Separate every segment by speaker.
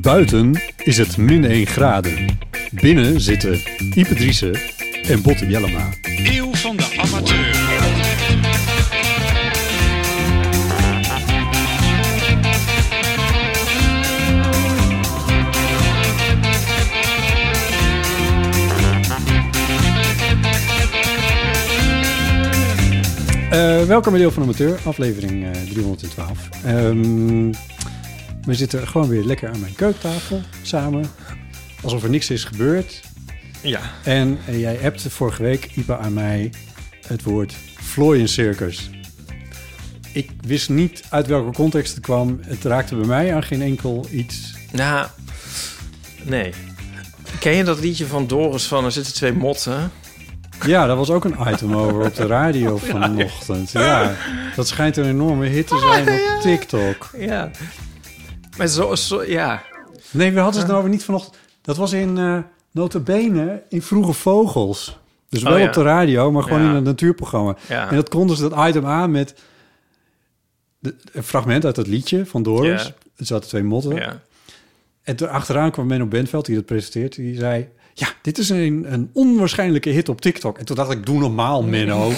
Speaker 1: Buiten is het min 1 graden. Binnen zitten Ipe Driessen en Botte Jellema.
Speaker 2: Eeuw van de amateur.
Speaker 1: Eh, welkom bij Deel van de Amateur, aflevering eh, 312. Ehm, we zitten gewoon weer lekker aan mijn keukentafel, samen. Alsof er niks is gebeurd.
Speaker 2: Ja.
Speaker 1: En eh, jij appte vorige week, Ipe, aan mij het woord vlooiencircus. Ik wist niet uit welke context het kwam. Het raakte bij mij aan geen enkel iets.
Speaker 3: Nou, nee. Ken je dat liedje van Doris van Er zitten twee motten?
Speaker 1: Ja, daar was ook een item over op de radio vanochtend. Ja, dat schijnt een enorme hit te
Speaker 3: Ah,
Speaker 1: zijn op TikTok.
Speaker 3: Ja. Maar zo, zo ja.
Speaker 1: Nee, we hadden het nou over niet vanochtend. Dat was in eh Notabene in Vroege Vogels. Dus wel
Speaker 3: Oh, ja.
Speaker 1: op de radio, maar gewoon
Speaker 3: Ja.
Speaker 1: in een natuurprogramma.
Speaker 3: Ja.
Speaker 1: En dat konden ze dat item aan met de, een fragment uit dat liedje van Doris.
Speaker 3: Ja.
Speaker 1: Er zaten twee motten.
Speaker 3: ja.
Speaker 1: En toen achteraan kwam Menno Benveld, die dat presenteert. Die zei, ja, dit is een, een onwaarschijnlijke hit op TikTok. En toen dacht ik, doe normaal, Menno.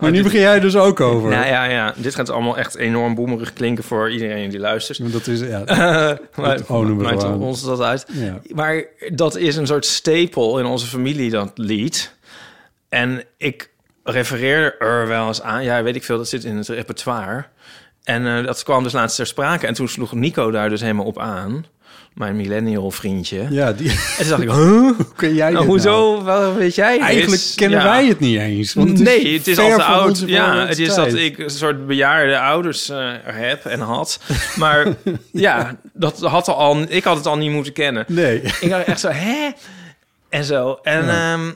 Speaker 1: maar nu begin jij dus ook over.
Speaker 3: Nou ja, ja, dit gaat allemaal echt enorm boemerig klinken voor iedereen die luistert.
Speaker 1: Dat is, ja.
Speaker 3: maar
Speaker 1: onen we
Speaker 3: maakt
Speaker 1: gewoon.
Speaker 3: ons dat uit.
Speaker 1: ja.
Speaker 3: Maar dat is een soort stapel in onze familie, dat lied. En ik refereer er wel eens aan. Ja, weet ik veel, dat zit in het repertoire. En eh, dat kwam dus laatst ter sprake. En toen sloeg Nico daar dus helemaal op aan. Mijn millennial vriendje.
Speaker 1: Ja, die,
Speaker 3: En toen dacht ik, huh?
Speaker 1: hoe kun jij
Speaker 3: Nou,
Speaker 1: dit nou?
Speaker 3: hoezo? Wel, weet jij? dit?
Speaker 1: Eigenlijk kennen
Speaker 3: Ja.
Speaker 1: wij het niet eens. Want het is
Speaker 3: nee, het is
Speaker 1: ver
Speaker 3: al te
Speaker 1: van
Speaker 3: oud.
Speaker 1: onze
Speaker 3: Ja, het is dat
Speaker 1: tijd.
Speaker 3: ik een soort bejaarde ouders eh, heb en had. Maar ja. dat had al. Ik had het al niet moeten kennen.
Speaker 1: Nee.
Speaker 3: Ik dacht echt zo, hè? En zo. En ehm,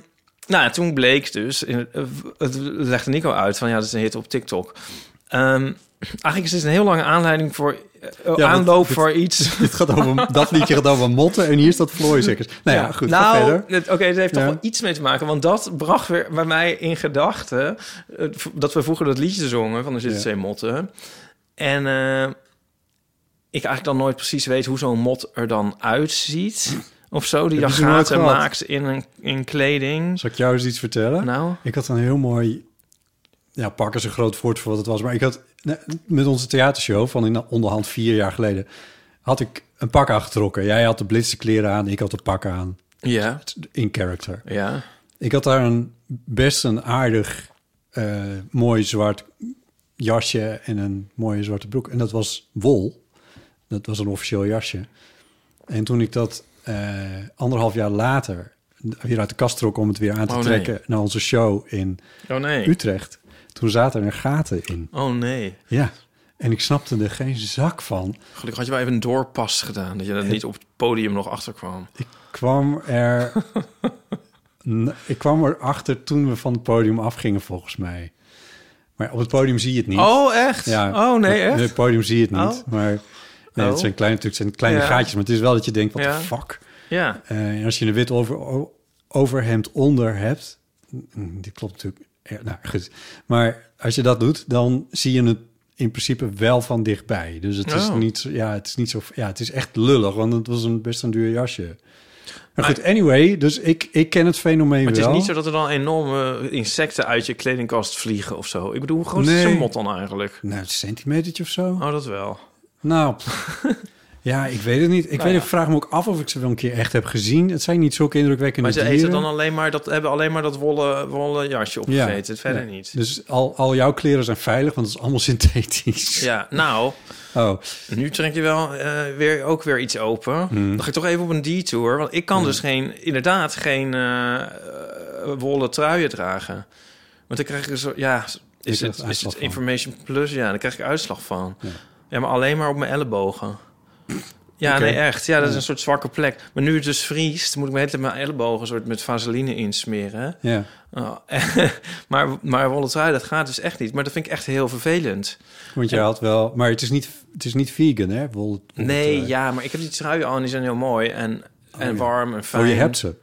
Speaker 3: nou, toen bleek dus, in- eh, het legde Nico uit van ja, dat is een hit op TikTok. Ehm, eigenlijk is het een heel lange aanleiding voor eh,
Speaker 1: dat-
Speaker 3: aanloop
Speaker 1: dat-
Speaker 3: voor iets.
Speaker 1: Dit gaat over, dat liedje gaat over motten en hier staat Vlooizekkers. Nou ja, goed, ga
Speaker 3: Nou,
Speaker 1: verder.
Speaker 3: het- oké, het heeft
Speaker 1: Ja.
Speaker 3: toch wel iets mee te maken. Want dat bracht weer bij mij in gedachten... eh, v- dat we vroeger dat liedje zongen van Er zitten
Speaker 1: Ja.
Speaker 3: twee motten. En eh, ik eigenlijk dan nooit precies weet hoe zo'n mot er dan uitziet. Of zo, Oh, die
Speaker 1: Heb
Speaker 3: dan
Speaker 1: je ze nooit
Speaker 3: gaten
Speaker 1: gehad?
Speaker 3: maakt in, een, in kleding.
Speaker 1: Zal ik jou eens iets vertellen?
Speaker 3: Nou,
Speaker 1: Ik had een heel mooi... Ja, pakken ze groot woord voor wat het was. Maar ik had nee, met onze theatershow van in onderhand vier jaar geleden... had ik een pak aangetrokken. Jij had de blitse kleren aan, ik had de pak aan.
Speaker 3: ja,
Speaker 1: In character.
Speaker 3: ja.
Speaker 1: Ik had daar een best een aardig eh, mooi zwart jasje en een mooie zwarte broek. En dat was wol. Dat was een officieel jasje. En toen ik dat eh, anderhalf jaar later weer uit de kast trok om het weer aan te
Speaker 3: Oh, nee.
Speaker 1: trekken naar onze show in
Speaker 3: Oh nee,
Speaker 1: Utrecht, toen zaten er gaten in.
Speaker 3: oh nee.
Speaker 1: Ja. En ik snapte er geen zak van.
Speaker 3: Gelukkig had je wel even een doorpas gedaan... dat je dat niet op het podium nog achterkwam.
Speaker 1: kwam er. N- ik kwam erachter toen we van het podium afgingen, volgens mij. Maar op het podium zie je het niet.
Speaker 3: Oh, echt? oh nee,
Speaker 1: op- Op
Speaker 3: echt?
Speaker 1: het podium zie je het
Speaker 3: Oh.
Speaker 1: niet. Maar nee,
Speaker 3: Oh.
Speaker 1: het zijn kleine, natuurlijk zijn het kleine
Speaker 3: Ja.
Speaker 1: gaatjes. Maar het is wel dat je denkt, wat de
Speaker 3: Ja.
Speaker 1: fuck.
Speaker 3: Ja,
Speaker 1: Eh, en als je een wit over, o- overhemd onder hebt... mm, Dit klopt natuurlijk. eh, Nou, goed. Maar als je dat doet, dan zie je het in principe wel van dichtbij. Dus het is
Speaker 3: Oh.
Speaker 1: niet, zo- ja, het is niet zo... Ja, het is echt lullig, want het was een, best een duur jasje. Maar goed, anyway, dus ik, ik ken het fenomeen
Speaker 3: Maar het
Speaker 1: wel.
Speaker 3: is niet zo dat er dan enorme insecten uit je kledingkast vliegen of zo. Ik bedoel, hoe groot is
Speaker 1: Nee.
Speaker 3: zo'n mot dan eigenlijk?
Speaker 1: Nou, een centimetertje of zo.
Speaker 3: Oh, dat wel.
Speaker 1: Nou, Ja, ik weet het niet. Ik,
Speaker 3: Nou
Speaker 1: weet,
Speaker 3: ja.
Speaker 1: ik vraag me ook af of ik ze wel een keer echt heb gezien. Het zijn niet zulke indrukwekkende
Speaker 3: Maar ze
Speaker 1: dieren.
Speaker 3: eten dan alleen maar dat, hebben alleen maar dat wollen, wollen jasje opgegeten. Verder
Speaker 1: Ja.
Speaker 3: niet.
Speaker 1: Dus al, al jouw kleren zijn veilig, want het is allemaal synthetisch.
Speaker 3: Ja, nou,
Speaker 1: Oh,
Speaker 3: nu trek je wel eh, weer, ook weer iets open. Dan ga ik toch even op een detour. Want ik kan dus geen, inderdaad geen eh, eh, wollen truien dragen. Want dan krijg ik zo, ja, is het,
Speaker 1: krijgt
Speaker 3: is
Speaker 1: uitslag
Speaker 3: het
Speaker 1: van.
Speaker 3: information plus? Ja, daar krijg ik uitslag van. Ja, maar alleen maar op mijn ellebogen. Ja,
Speaker 1: Oké.
Speaker 3: nee, echt. Ja, dat is
Speaker 1: Ja.
Speaker 3: een soort zwakke plek. Maar nu het dus vriest, moet ik mijn hele tijd mijn ellebogen soort met vaseline insmeren.
Speaker 1: ja.
Speaker 3: Oh, maar, maar wollen trui, dat gaat dus echt niet. Maar dat vind ik echt heel vervelend.
Speaker 1: Want je had wel... Maar het is niet, het is niet vegan, hè? Wol, wol-
Speaker 3: Nee,
Speaker 1: eh,
Speaker 3: ja, maar ik heb die truien al en die zijn heel mooi en, en warm en fijn.
Speaker 1: Oh, je hebt ze.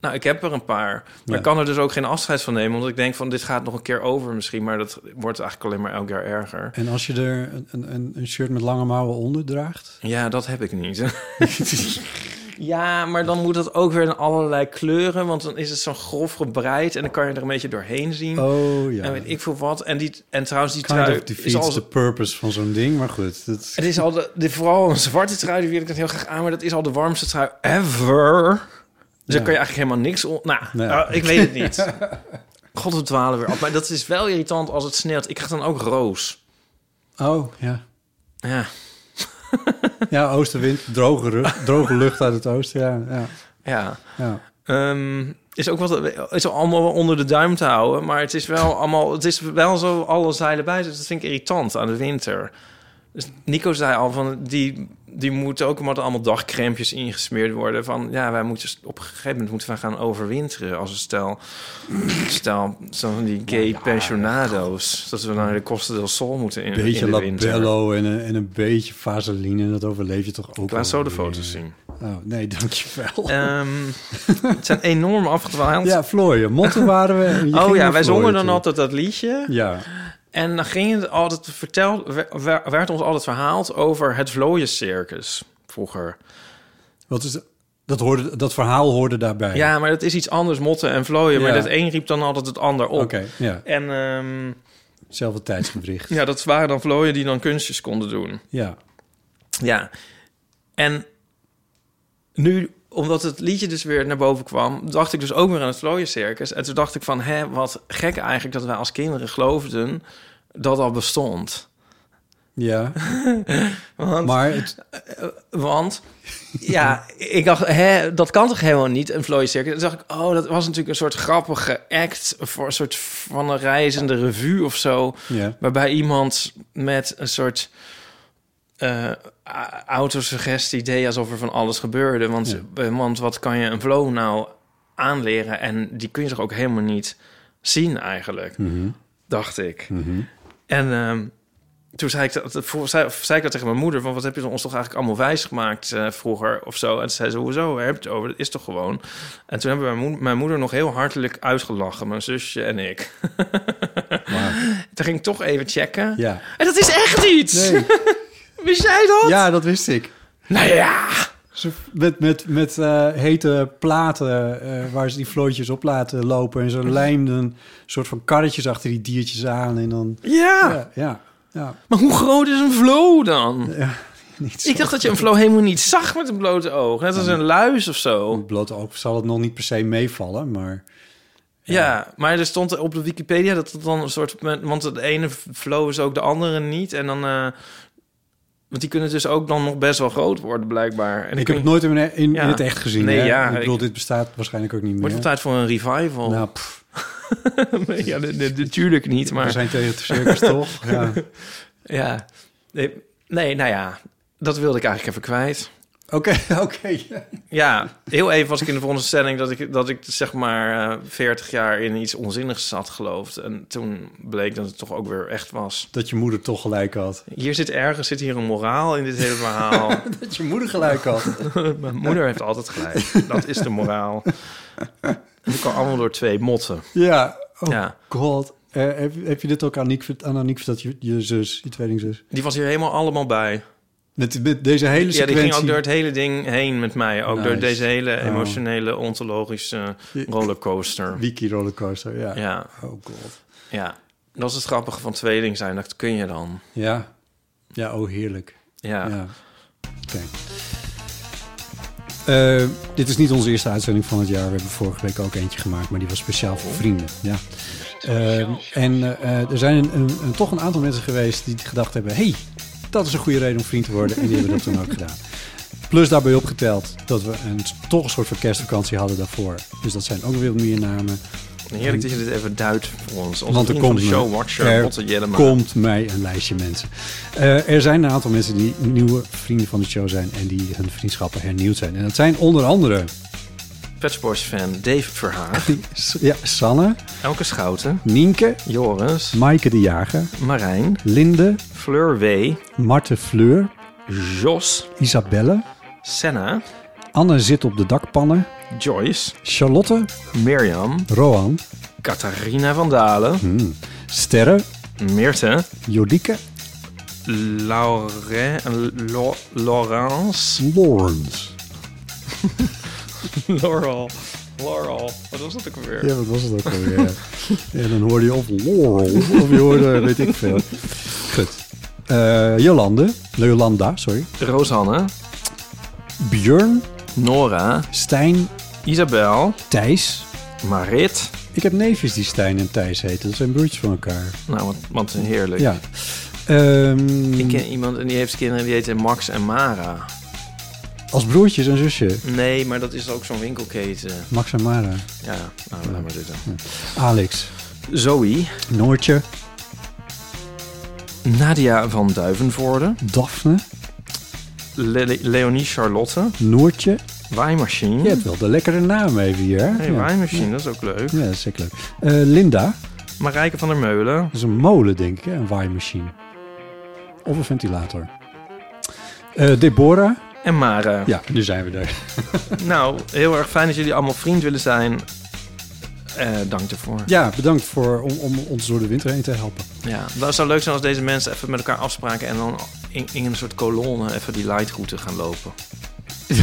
Speaker 3: Nou, ik heb er een paar. Maar
Speaker 1: Ja.
Speaker 3: ik kan er dus ook geen afscheid van nemen, omdat ik denk van dit gaat nog een keer over misschien, maar dat wordt eigenlijk alleen maar elk jaar erger.
Speaker 1: En als je er een, een, een shirt met lange mouwen onder draagt?
Speaker 3: Ja, dat heb ik niet. ja, maar dan moet dat ook weer in allerlei kleuren, want dan is het zo grof gebreid en dan kan je er een beetje doorheen zien.
Speaker 1: Oh, ja.
Speaker 3: En weet Nou, ik veel wat. En, die, en trouwens, die
Speaker 1: Kind
Speaker 3: trui
Speaker 1: of defeats
Speaker 3: is al
Speaker 1: the purpose van zo'n ding, maar goed. Dat,
Speaker 3: Het is al de, de- vooral een zwarte trui, die wil ik het heel graag aan, maar dat is al de warmste trui ever. Dus
Speaker 1: Ja.
Speaker 3: daar kan je eigenlijk helemaal niks op. Nou,
Speaker 1: Nee.
Speaker 3: eh, ik weet het niet. God, we dwalen weer af. Maar dat is wel irritant als het sneeuwt. Ik krijg dan ook roos.
Speaker 1: Oh, ja.
Speaker 3: Ja,
Speaker 1: Ja, oostenwind, droge, ru- droge lucht uit het oosten, ja. ja,
Speaker 3: ja.
Speaker 1: ja.
Speaker 3: Ehm, is ook wat is allemaal wel onder de duim te houden, maar het is wel allemaal, het is wel zo alle zeilen bij. Dus dat vind ik irritant aan de winter. Dus Nico zei al van die, die moeten ook omdat er allemaal dagcrempjes ingesmeerd worden. Van ja, wij moeten op een gegeven moment moeten wij gaan overwinteren als een stel, stel zo van die gay pensionado's, dat we naar de Costa del Sol moeten in,
Speaker 1: Een beetje
Speaker 3: in de winter.
Speaker 1: labello en een, en een beetje vaseline, en dat overleef je toch ook
Speaker 3: Ik laat zo de
Speaker 1: alweer.
Speaker 3: foto's zien.
Speaker 1: Oh, nee, dankjewel.
Speaker 3: Ehm, het zijn enorm afgedwaald.
Speaker 1: ja, Flooien, motten waren we. en je ging
Speaker 3: oh ja,
Speaker 1: naar
Speaker 3: wij zongen
Speaker 1: Vlooien
Speaker 3: dan
Speaker 1: toe.
Speaker 3: altijd dat liedje.
Speaker 1: Ja,
Speaker 3: En dan ging het altijd verteld, wer- wer- werd ons altijd verhaald over het vlooiencircus Dus vroeger.
Speaker 1: wat is, dat, hoorde, dat verhaal hoorde daarbij.
Speaker 3: Ja, maar dat is iets anders, motten en vlooien. Oh Maar
Speaker 1: Ja.
Speaker 3: dat een riep dan altijd het ander op.
Speaker 1: Oké, ja.
Speaker 3: En ehm,
Speaker 1: Zelfde tijdsgewricht.
Speaker 3: ja, dat waren dan vlooien die dan kunstjes konden doen.
Speaker 1: Ja.
Speaker 3: Ja. En nu, omdat het liedje dus weer naar boven kwam, dacht ik dus ook weer aan het vlooiencircus. En toen dacht ik van, hè, wat gek eigenlijk dat wij als kinderen geloofden dat al bestond.
Speaker 1: Ja,
Speaker 3: Want Eh,
Speaker 1: maar het,
Speaker 3: Want ja, ik dacht, hè, dat kan toch helemaal niet, een Floyd Circus? Toen dacht ik, oh, dat was natuurlijk een soort grappige act... voor een soort van een reizende revue of zo...
Speaker 1: ja.
Speaker 3: waarbij iemand met een soort eh a- autosuggestie deed... alsof er van alles gebeurde. Want, eh, want wat kan je een flow nou aanleren? En die kun je toch ook helemaal niet zien eigenlijk,
Speaker 1: Mhm.
Speaker 3: dacht ik. En ehm, toen zei ik, dat, voor- zei, zei ik dat tegen mijn moeder: van wat heb je ons toch eigenlijk allemaal wijs gemaakt eh, vroeger of zo? En toen zei ze: hoezo? Waar heb je het over? Dat is toch gewoon. En toen hebben mijn, moed- mijn moeder nog heel hartelijk uitgelachen, mijn zusje en ik. toen ging ik toch even checken.
Speaker 1: ja.
Speaker 3: En dat is echt iets!
Speaker 1: Nee.
Speaker 3: Wist jij dat?
Speaker 1: ja, dat wist ik.
Speaker 3: Nou ja!
Speaker 1: Ze f- Met, met, met eh, hete platen eh, waar ze die vlootjes op laten lopen. En
Speaker 3: Mhm.
Speaker 1: ze lijmden soort van karretjes achter die diertjes aan. En dan,
Speaker 3: Ja!
Speaker 1: ja, ja, ja,
Speaker 3: Maar hoe groot is een flow dan?
Speaker 1: niet zo.
Speaker 3: Ik dacht dat je een flow helemaal niet zag met een blote oog. Net als een luis of zo.
Speaker 1: Op blote oog zal het nog niet per se meevallen, maar...
Speaker 3: Ja. maar er stond op de Wikipedia dat het dan een soort... Want het ene flow is ook de andere niet. En dan... eh, want die kunnen dus ook dan nog best wel groot worden, blijkbaar. En
Speaker 1: ik heb het nooit in, in, in
Speaker 3: Ja.
Speaker 1: het echt gezien.
Speaker 3: Nee,
Speaker 1: hè?
Speaker 3: ja,
Speaker 1: ik bedoel,
Speaker 3: ik-
Speaker 1: dit bestaat waarschijnlijk ook niet meer.
Speaker 3: Wordt het tijd voor een revival?
Speaker 1: Nou, pff,
Speaker 3: Oh. ja, de- de- natuurlijk niet,
Speaker 1: we
Speaker 3: maar...
Speaker 1: zijn tegen het circus, toch? Ja.
Speaker 3: Ja. Nee, nee, nou ja. Dat wilde ik eigenlijk even kwijt.
Speaker 1: Oké, oké. ja.
Speaker 3: Ja, heel even was ik in de veronderstelling dat ik, dat ik zeg maar eh 40 jaar in iets onzinnigs had geloofd. En toen bleek dat het toch ook weer echt was.
Speaker 1: Dat je moeder toch gelijk had.
Speaker 3: Hier zit ergens zit hier een moraal in dit hele verhaal.
Speaker 1: Dat je moeder gelijk had.
Speaker 3: Mijn moeder heeft altijd gelijk. Dat is de moraal. Dat kan allemaal door twee motten.
Speaker 1: ja, oh
Speaker 3: Ja.
Speaker 1: god. Eh, heb, heb je dit ook aan Aniek, vert- aan Aniek verteld, je, je zus, je tweelingzus?
Speaker 3: Die was hier helemaal allemaal bij.
Speaker 1: Met, met deze hele
Speaker 3: Ja,
Speaker 1: sequentie.
Speaker 3: die ging ook door het hele ding heen met mij. Ook
Speaker 1: Nice.
Speaker 3: door deze hele
Speaker 1: Oh.
Speaker 3: emotionele, ontologische
Speaker 1: Je-
Speaker 3: rollercoaster.
Speaker 1: Wiki rollercoaster, ja.
Speaker 3: Ja,
Speaker 1: Oh god.
Speaker 3: ja. Dat is het grappige van tweeling zijn. Dat kun je dan.
Speaker 1: Ja. Ja, oh heerlijk.
Speaker 3: Ja.
Speaker 1: Ja. Oké. Eh, dit is niet onze eerste uitzending van het jaar. We hebben vorige week ook eentje gemaakt, maar die was speciaal voor vrienden. Ja. Eh, en eh, eh, er zijn een, een, een- toch een aantal mensen geweest die gedacht hebben: hey, dat is een goede reden om vriend te worden. En die hebben dat toen ook gedaan. Plus daarbij opgeteld dat we een, toch een soort van kerstvakantie hadden daarvoor. Dus dat zijn ook weer meer namen.
Speaker 3: Heerlijk dat je dit even duidt voor ons. Onze
Speaker 1: Want er
Speaker 3: vriend van
Speaker 1: komt,
Speaker 3: de
Speaker 1: me-
Speaker 3: showwatcher,
Speaker 1: er
Speaker 3: Botte Jellema.
Speaker 1: komt mij een lijstje mensen. Eh, er zijn een aantal mensen die nieuwe vrienden van de show zijn en die hun vriendschappen hernieuwd zijn. En dat zijn onder andere
Speaker 3: Pet Boys fan Dave Verhaag.
Speaker 1: S- ja, Sanne,
Speaker 3: Ah. Elke Schouten.
Speaker 1: Nienke,
Speaker 3: Joris.
Speaker 1: Maaike de Jager,
Speaker 3: Marijn.
Speaker 1: Linde,
Speaker 3: Fleur W.
Speaker 1: Marten Fleur,
Speaker 3: Jos.
Speaker 1: Isabelle,
Speaker 3: Senna.
Speaker 1: Anne zit op de dakpannen,
Speaker 3: Joyce.
Speaker 1: Charlotte,
Speaker 3: Mirjam.
Speaker 1: Roan,
Speaker 3: Catharina van Dalen.
Speaker 1: Hmm. Sterre,
Speaker 3: Meerte.
Speaker 1: Jodieke,
Speaker 3: Laure, eh, Lo- Laurence.
Speaker 1: Lawrence.
Speaker 3: Laurel. Laurel. Wat was dat ook weer?
Speaker 1: Ja, wat was het ook alweer? ja. En dan hoorde je of Laurel, of je hoorde weet ik veel. Goed. Eh, Jolande, Jolanda, sorry.
Speaker 3: Rosanne.
Speaker 1: Björn,
Speaker 3: Nora.
Speaker 1: Stijn,
Speaker 3: Isabel.
Speaker 1: Thijs.
Speaker 3: Marit.
Speaker 1: Ik heb neefjes die Stijn en Thijs heten. Dat zijn broertjes van elkaar.
Speaker 3: Nou, wat, wat een heerlijk.
Speaker 1: Ja. Ehm,
Speaker 3: Ik ken iemand en die heeft kinderen die heten Max en Mara.
Speaker 1: Als broertjes en zusje.
Speaker 3: Nee, maar dat is ook zo'n winkelketen.
Speaker 1: Max en Mara.
Speaker 3: Ja, nou, laat maar zitten.
Speaker 1: Alex.
Speaker 3: Zoe.
Speaker 1: Noortje.
Speaker 3: Nadia van Duivenvoorde.
Speaker 1: Daphne.
Speaker 3: Le- Le- Leonie Charlotte.
Speaker 1: Noortje.
Speaker 3: Waaimachine.
Speaker 1: Je hebt wel de lekkere naam even hier. hè?
Speaker 3: Hey,
Speaker 1: ja.
Speaker 3: Waaimachine, dat is ook leuk.
Speaker 1: Ja, dat is zeker leuk. Eh, Linda.
Speaker 3: Marijke van der Meulen.
Speaker 1: Dat is een molen, denk ik, hè? een waaimachine. Of een ventilator. Eh, Deborah.
Speaker 3: En Mara.
Speaker 1: Ja, nu zijn we er.
Speaker 3: Nou, heel erg fijn dat jullie allemaal vriend willen zijn. Eh, dank ervoor.
Speaker 1: Ja, bedankt voor, om, om ons door de winter heen te helpen.
Speaker 3: Ja, dat zou leuk zijn als deze mensen even met elkaar afspraken en dan in, in een soort kolonne even die lightroute gaan lopen.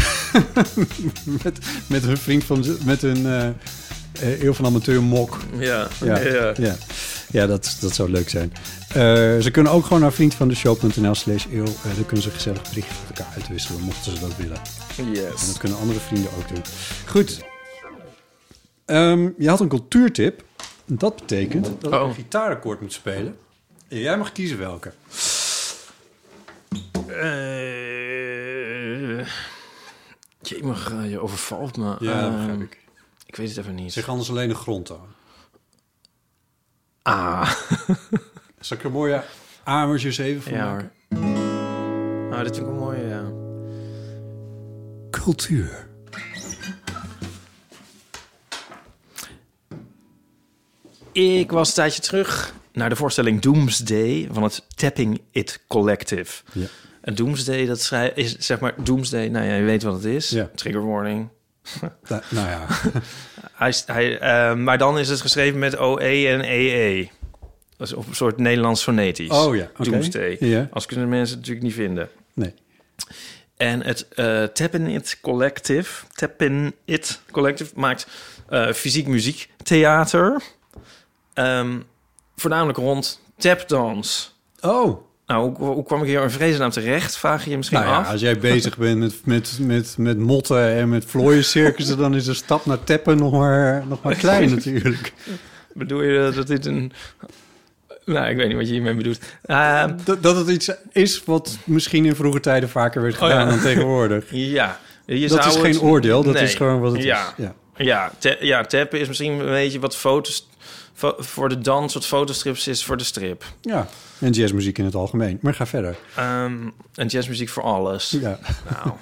Speaker 1: Met, met hun vriend van... Met hun eh, eh, eeuw van amateur mok.
Speaker 3: Ja,
Speaker 1: Ja, ja. ja. dat, dat zou leuk zijn. Eh, ze kunnen ook gewoon naar vriendvandeshow.nl slash eeuw. Eh, daar kunnen ze gezellig berichten met elkaar uitwisselen, mochten ze dat willen. En dat
Speaker 3: Yes.
Speaker 1: kunnen andere vrienden ook doen. Goed. Ehm, je had een cultuurtip. Dat betekent dat ik
Speaker 3: Oh.
Speaker 1: een gitaarakkoord moet spelen. En jij mag kiezen welke.
Speaker 3: Eh jemig, eh, je overvalt me.
Speaker 1: Ja, dat
Speaker 3: Ehm,
Speaker 1: begrijp ik.
Speaker 3: Ik weet het even niet.
Speaker 1: Zeg anders alleen de grondtoon.
Speaker 3: ah.
Speaker 1: Zal ik er mooie amertjes even van
Speaker 3: Ja
Speaker 1: maken?
Speaker 3: hoor. Nou, dit vind ik wel mooi, ja.
Speaker 1: Cultuur.
Speaker 3: Ik was een tijdje terug naar de voorstelling Doomsday van het Tapping It Collective.
Speaker 1: Ja.
Speaker 3: En Doomsday, dat schrij- is zeg maar Doomsday. Nou ja, je weet wat het is.
Speaker 1: Ja.
Speaker 3: Trigger warning.
Speaker 1: Da- nou ja,
Speaker 3: Hij, is- hij, eh, maar dan is het geschreven met OE en EE. Dat is op een soort Nederlands fonetisch.
Speaker 1: Oh ja, oké.
Speaker 3: Doomsday.
Speaker 1: Ja.
Speaker 3: Als kunnen mensen het natuurlijk niet vinden.
Speaker 1: nee.
Speaker 3: En het eh Tappin' It Collective, Tappin' It Collective maakt eh, fysiek muziek, theater. Ehm, voornamelijk rond tapdans.
Speaker 1: Oh,
Speaker 3: Nou, hoe, hoe kwam ik hier in vrezennaam terecht? Vraag je je misschien
Speaker 1: nou ja,
Speaker 3: af.
Speaker 1: als jij bezig bent met, met, met, met motten en met vlooiencircussen... dan is de stap naar teppen nog maar, nog maar klein natuurlijk.
Speaker 3: Bedoel je dat dit een... Nou, ik weet niet wat je hiermee bedoelt. Ehm,
Speaker 1: Dat, dat het iets is wat misschien in vroege tijden vaker werd gedaan
Speaker 3: Oh ja.
Speaker 1: dan tegenwoordig.
Speaker 3: ja. Je
Speaker 1: dat
Speaker 3: zou
Speaker 1: is geen
Speaker 3: het-
Speaker 1: oordeel, dat
Speaker 3: Nee.
Speaker 1: is gewoon wat het
Speaker 3: ja.
Speaker 1: is. Ja.
Speaker 3: Ja, ta- ja, tappen is misschien een beetje wat foto's... fo- voor de dans wat fotostrips is voor de strip.
Speaker 1: ja, en jazzmuziek in het algemeen. Maar ga verder.
Speaker 3: Ehm, en jazzmuziek voor alles.
Speaker 1: Ja.
Speaker 3: Nou.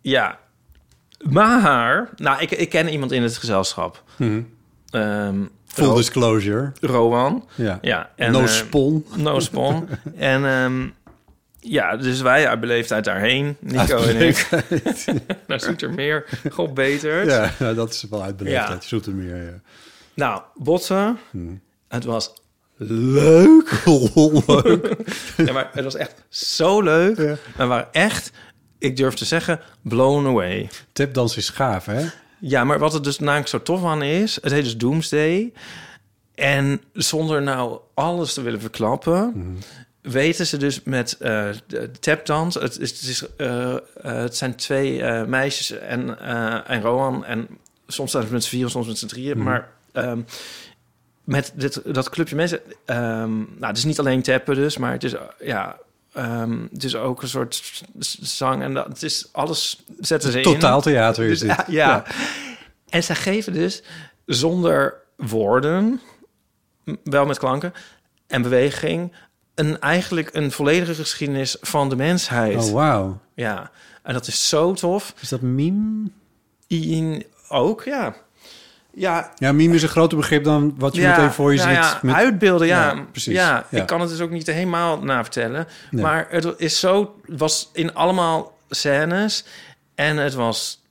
Speaker 3: Ja. Maar, nou, ik, ik ken iemand in het gezelschap. Ehm,
Speaker 1: Full
Speaker 3: Ro-
Speaker 1: disclosure.
Speaker 3: Rowan.
Speaker 1: Ja.
Speaker 3: Ja. En,
Speaker 1: no
Speaker 3: eh,
Speaker 1: spon.
Speaker 3: No spon. en ehm, ja, dus wij uit beleefdheid daarheen. Nico en ik. Naar Zoetermeer. God beter.
Speaker 1: Ja, nou, dat is wel uitbeleefdheid.
Speaker 3: Ja.
Speaker 1: Zoetermeer. Ja.
Speaker 3: Nou, botsen. Het was
Speaker 1: Leuk. Leuk.
Speaker 3: Ja, maar het was echt zo leuk.
Speaker 1: Ja.
Speaker 3: En waren echt, ik durf te zeggen, blown away.
Speaker 1: Tapdans is gaaf, hè?
Speaker 3: Ja, maar wat het dus namelijk zo tof aan is... het heet dus Doomsday. En zonder nou alles te willen verklappen... weten ze dus met eh de tapdans. Het, is, het, is, eh, eh, het zijn twee eh, meisjes en, eh, en Rohan. En soms zijn ze met z'n vier, soms met z'n drieën.
Speaker 4: Mhm.
Speaker 3: Maar ehm, met dit, dat clubje mensen... ehm, nou, het is niet alleen tappen dus, maar het is... eh, ja, ehm, het is ook een soort s- s- zang en dat, het is alles zetten ze in.
Speaker 1: Totaal theater is
Speaker 3: Dus,
Speaker 1: dit.
Speaker 3: ja, ja. En zij geven dus zonder woorden, m- wel met klanken en beweging, een, eigenlijk een volledige geschiedenis van de mensheid.
Speaker 1: Oh, wauw.
Speaker 3: Ja, en dat is zo tof.
Speaker 1: Is dat meme?
Speaker 3: In, ook, ja. Ja,
Speaker 1: Ja, meme is een groter begrip dan wat je
Speaker 3: ja,
Speaker 1: meteen voor je
Speaker 3: nou
Speaker 1: ziet.
Speaker 3: Ja,
Speaker 1: met-
Speaker 3: Uitbeelden, ja.
Speaker 1: Ja,
Speaker 3: Ja,
Speaker 1: precies. Ja.
Speaker 3: Ik kan het dus ook niet helemaal navertellen.
Speaker 1: Nee.
Speaker 3: Maar het is zo, was in allemaal scènes. En het was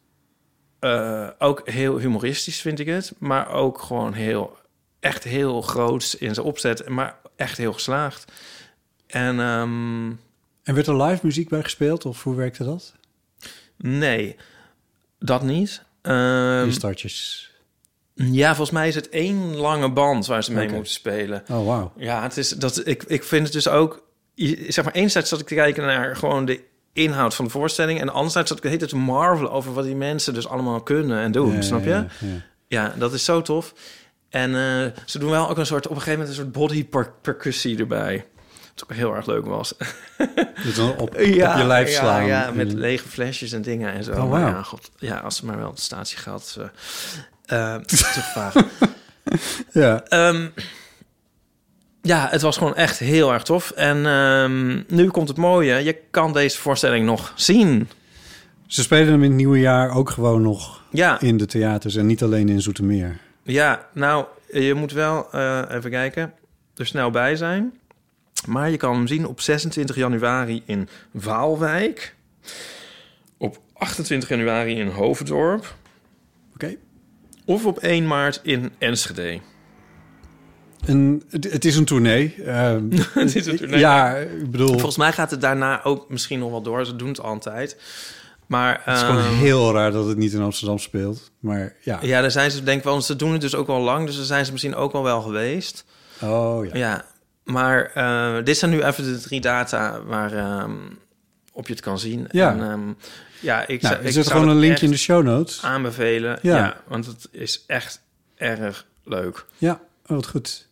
Speaker 3: eh, ook heel humoristisch, vind ik het. Maar ook gewoon heel, echt heel groots in zijn opzet. Maar echt heel geslaagd. En ehm,
Speaker 1: En werd er live muziek bij gespeeld? Of hoe werkte dat?
Speaker 3: nee, dat niet. Ehm,
Speaker 1: Die startjes.
Speaker 3: Ja, volgens mij is het één lange band waar ze mee
Speaker 1: Oké.
Speaker 3: moeten spelen.
Speaker 1: Oh, wauw.
Speaker 3: Ja, het is, dat, ik, ik vind het dus ook... je- Zeg maar, enerzijds zat ik te kijken naar gewoon de inhoud van de voorstelling... en anderzijds zat ik de hele tijd te marvelen over wat die mensen dus allemaal kunnen en doen,
Speaker 1: Ja,
Speaker 3: snap je?
Speaker 1: ja,
Speaker 3: Ja,
Speaker 1: ja, ja.
Speaker 3: dat is zo tof. En eh, ze doen wel ook een soort, op een gegeven moment een soort body per- percussie erbij. Wat ook heel erg leuk was.
Speaker 1: Dus dan op- op je lijf slaan.
Speaker 3: Ja, ja, met lege flesjes en dingen en zo.
Speaker 1: Oh,
Speaker 3: Maar
Speaker 1: wauw.
Speaker 3: ja, god, ja, als ze maar wel het statiegeld... eh eh, te vragen.
Speaker 1: Ja.
Speaker 3: Ehm, ja, het was gewoon echt heel erg tof. En ehm, nu komt het mooie. Je kan deze voorstelling nog zien.
Speaker 1: Ze spelen hem in het nieuwe jaar ook gewoon nog
Speaker 3: Ja.
Speaker 1: in de theaters en niet alleen in Zoetermeer.
Speaker 3: Ja, nou, je moet wel eh, even kijken. Er snel bij zijn. Maar je kan hem zien op 26 januari in Waalwijk. Op 28 januari in Hoofddorp. Oké. Of op 1 maart in Enschede.
Speaker 1: En het, het is een tournee. ehm,
Speaker 3: Het is een tournee.
Speaker 1: Ja, ik bedoel,
Speaker 3: Volgens mij gaat het daarna ook misschien nog wel door. Ze doen het altijd. Maar,
Speaker 1: het is gewoon
Speaker 3: ehm,
Speaker 1: heel raar dat het niet in Amsterdam speelt. Maar ja.
Speaker 3: Ja, daar zijn ze denk ik wel, want ze doen het dus ook al lang, dus daar zijn ze misschien ook al wel geweest.
Speaker 1: Oh ja.
Speaker 3: maar eh, dit zijn nu even de drie data waar ehm, op je het kan zien.
Speaker 1: Ja.
Speaker 3: en, ehm, ja ik, zou-
Speaker 1: Nou, er
Speaker 3: ik
Speaker 1: zit
Speaker 3: zou
Speaker 1: gewoon
Speaker 3: het
Speaker 1: een linkje
Speaker 3: echt
Speaker 1: in de show notes.
Speaker 3: Aanbevelen,
Speaker 1: Ja.
Speaker 3: ja. want het is echt erg leuk.
Speaker 1: Ja, oh, wat goed.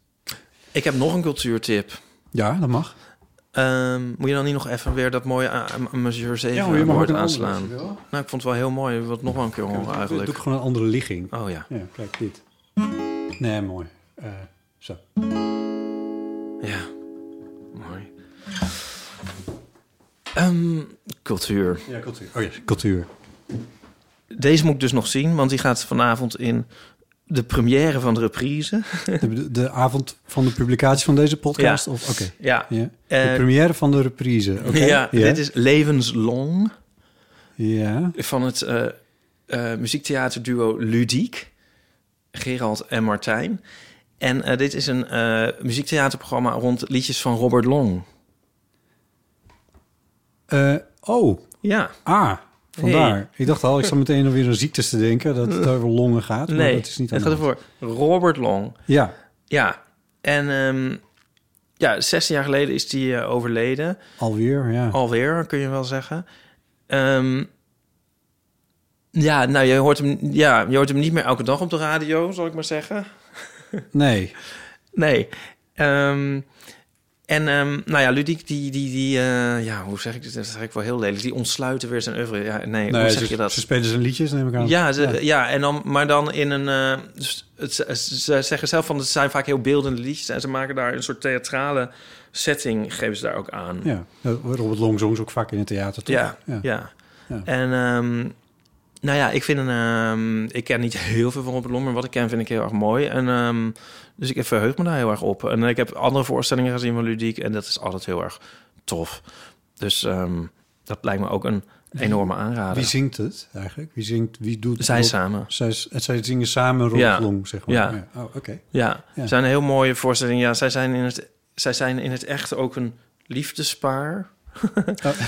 Speaker 3: Ik heb nog een cultuurtip.
Speaker 1: Ja, dat mag.
Speaker 3: Ehm, moet je dan niet nog even weer dat mooie eh, a- a- Monsieur 7
Speaker 1: Ja, maar je mag
Speaker 3: woord
Speaker 1: ook een andere
Speaker 3: aanslaan?
Speaker 1: als je wil.
Speaker 3: Nou, ik vond het wel heel mooi. Ik wil het nog wel een keer horen
Speaker 1: Doe ik
Speaker 3: eigenlijk.
Speaker 1: gewoon een andere ligging.
Speaker 3: Oh ja.
Speaker 1: Ja, kijk dit. Nee, mooi. Eh, zo.
Speaker 3: Ja, mooi. Ehm, cultuur.
Speaker 1: Ja, cultuur. Oh ja, cultuur.
Speaker 3: Deze moet ik dus nog zien, want die gaat vanavond in de première van de reprise.
Speaker 1: De, de avond van de publicatie van deze podcast?
Speaker 3: Ja.
Speaker 1: Of, oké.
Speaker 3: Ja.
Speaker 1: de
Speaker 3: Eh,
Speaker 1: première van de reprise. oké.
Speaker 3: Ja, dit is Levenslang
Speaker 1: Ja.
Speaker 3: van het eh, eh, muziektheaterduo Ludiek, Gerald en Martijn. En eh, dit is een eh, muziektheaterprogramma rond liedjes van Robert Long.
Speaker 1: Eh, oh.
Speaker 3: Ja.
Speaker 1: Ah, vandaar.
Speaker 3: Hey.
Speaker 1: Ik dacht al, ik zat meteen alweer aan ziektes te denken. Dat het over longen gaat. maar
Speaker 3: nee,
Speaker 1: dat is niet aan
Speaker 3: het gaat
Speaker 1: de hand.
Speaker 3: ervoor. Robert Long.
Speaker 1: Ja.
Speaker 3: Ja, en ehm, ja, 16 jaar geleden is die eh, overleden.
Speaker 1: Alweer, ja.
Speaker 3: Alweer, kun je wel zeggen. Ehm, ja, nou, je hoort, hem, ja, je hoort hem niet meer elke dag op de radio, zal ik maar zeggen.
Speaker 1: Nee.
Speaker 3: Nee. Ehm, en ehm, nou ja, Ludiek, die, die, die eh, ja, hoe zeg ik dit? Dat zeg ik wel heel lelijk. Die ontsluiten weer zijn oeuvre. Ja, nee,
Speaker 1: Nee,
Speaker 3: hoe
Speaker 1: ze,
Speaker 3: zeg je dat?
Speaker 1: Ze spelen zijn liedjes, neem ik aan.
Speaker 3: Ja, ze, ja. en dan, maar dan in een... eh, s- het- ze, ze zeggen zelf van, het zijn vaak heel beeldende liedjes... en ze maken daar een soort theatrale setting, geven ze daar ook aan.
Speaker 1: Ja. Robert Long zong ze ook vaak in het theater, toch?
Speaker 3: Ja, ja.
Speaker 1: Ja.
Speaker 3: En ehm, nou ja, ik vind een... ehm, ik ken niet heel veel van Robert Long, maar wat ik ken vind ik heel erg mooi. En, ehm, dus ik verheug me daar heel erg op. En ik heb andere voorstellingen gezien van Ludiek... en dat is altijd heel erg tof. Dus ehm, dat lijkt me ook een enorme aanrader.
Speaker 1: Wie zingt het eigenlijk? Wie zingt, wie doet...
Speaker 3: Zij samen.
Speaker 1: Zij, zij zingen samen Robert
Speaker 3: Ja.
Speaker 1: Long, zeg maar.
Speaker 3: Ja.
Speaker 1: Oh, oké.
Speaker 3: Ja,
Speaker 1: Ja.
Speaker 3: zijn een heel mooie voorstelling. Ja, zij zijn in het, zij zijn in het echt ook een liefdespaar.
Speaker 1: Oh.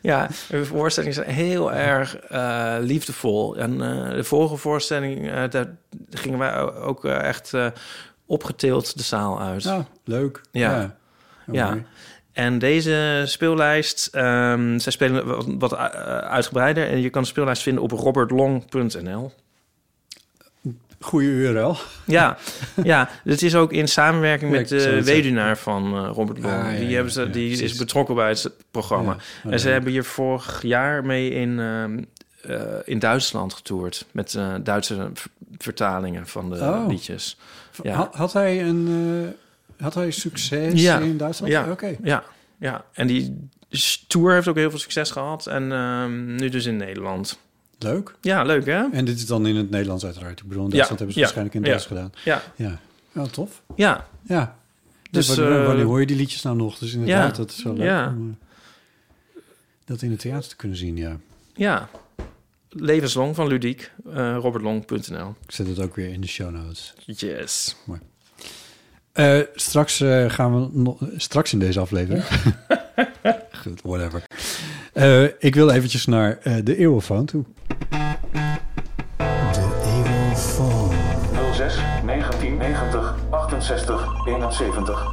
Speaker 3: ja, hun voorstellingen zijn heel erg eh, liefdevol. En eh, de vorige voorstelling, eh, daar gingen wij ook eh, echt eh, opgetild de zaal uit.
Speaker 1: Ja, Ah, Oh, leuk.
Speaker 3: Ja.
Speaker 1: Ja.
Speaker 3: ja. En deze eh, speellijst, ehm, zij spelen wat, wat, eh, uitgebreider. En je kan de speellijst vinden op robertlong.nl.
Speaker 1: Goede URL.
Speaker 3: Ja, ja, het is ook in samenwerking
Speaker 1: Ja,
Speaker 3: met
Speaker 1: ik zou
Speaker 3: de
Speaker 1: het zeggen.
Speaker 3: weduwnaar van eh, Robert Long.
Speaker 1: Ah, ja,
Speaker 3: die
Speaker 1: ja,
Speaker 3: hebben ze,
Speaker 1: ja,
Speaker 3: die
Speaker 1: precies.
Speaker 3: is betrokken bij het programma.
Speaker 1: ja.
Speaker 3: en ze hebben hier vorig jaar mee in, ehm, eh, in Duitsland getoerd. Met eh, Duitse v- vertalingen van de
Speaker 1: Oh.
Speaker 3: liedjes. Ja.
Speaker 1: Had, had hij een eh, had hij succes
Speaker 3: Ja.
Speaker 1: in Duitsland?
Speaker 3: Ja.
Speaker 1: Oké.
Speaker 3: Ja. ja, en die s- Dus tour heeft ook heel veel succes gehad. En ehm, nu dus in Nederland.
Speaker 1: Leuk.
Speaker 3: Ja, leuk hè?
Speaker 1: En dit is dan in het Nederlands uiteraard. Ik bedoel, in Duitsland hebben ze
Speaker 3: ja,
Speaker 1: waarschijnlijk in
Speaker 3: ja,
Speaker 1: het Duits
Speaker 3: Ja,
Speaker 1: gedaan. Ja. Wel tof.
Speaker 3: ja.
Speaker 1: Ja. Dus,
Speaker 3: Dus,
Speaker 1: wanneer,
Speaker 3: eh,
Speaker 1: wanneer hoor je die liedjes nou nog? Dus inderdaad,
Speaker 3: ja,
Speaker 1: dat is wel leuk
Speaker 3: ja.
Speaker 1: om eh, dat in het theater te kunnen zien, ja.
Speaker 3: ja. Levenslang van Ludiek, eh, robertlong.nl.
Speaker 1: Ik zet het ook weer in de show notes.
Speaker 3: Yes.
Speaker 1: Eh, straks eh, gaan we nog, straks in deze aflevering. Goed, whatever. Eh, ik wil eventjes naar eh, de eeuwenfoon toe.
Speaker 4: 06 1990 68 71.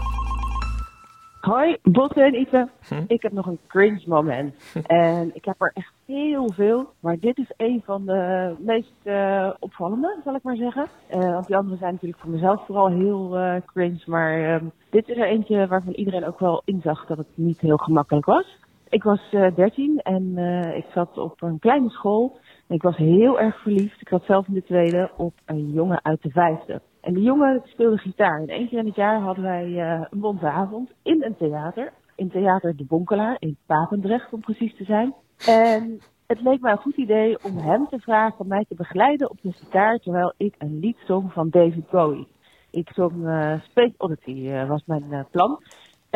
Speaker 5: Hoi, Botte en Ipe. Ik heb nog een cringe moment. En ik heb er echt heel veel. Maar dit is een van de meest eh, opvallende, zal ik maar zeggen. Eh, want die andere zijn natuurlijk voor mezelf vooral heel eh, cringe. Maar ehm, dit is er eentje waarvan iedereen ook wel inzag dat het niet heel gemakkelijk was. Ik was eh 13 en eh, ik zat op een kleine school. En ik was heel erg verliefd. Ik zat zelf in de tweede op een jongen uit de vijfde. En die jongen speelde gitaar. En één keer in het jaar hadden wij eh, een bonte avond in een theater. In theater De Bonkelaar in Papendrecht om precies te zijn. En het leek mij een goed idee om hem te vragen om mij te begeleiden op de gitaar terwijl ik een lied zong van David Bowie. Ik zong eh, Space Oddity eh, was mijn eh, plan.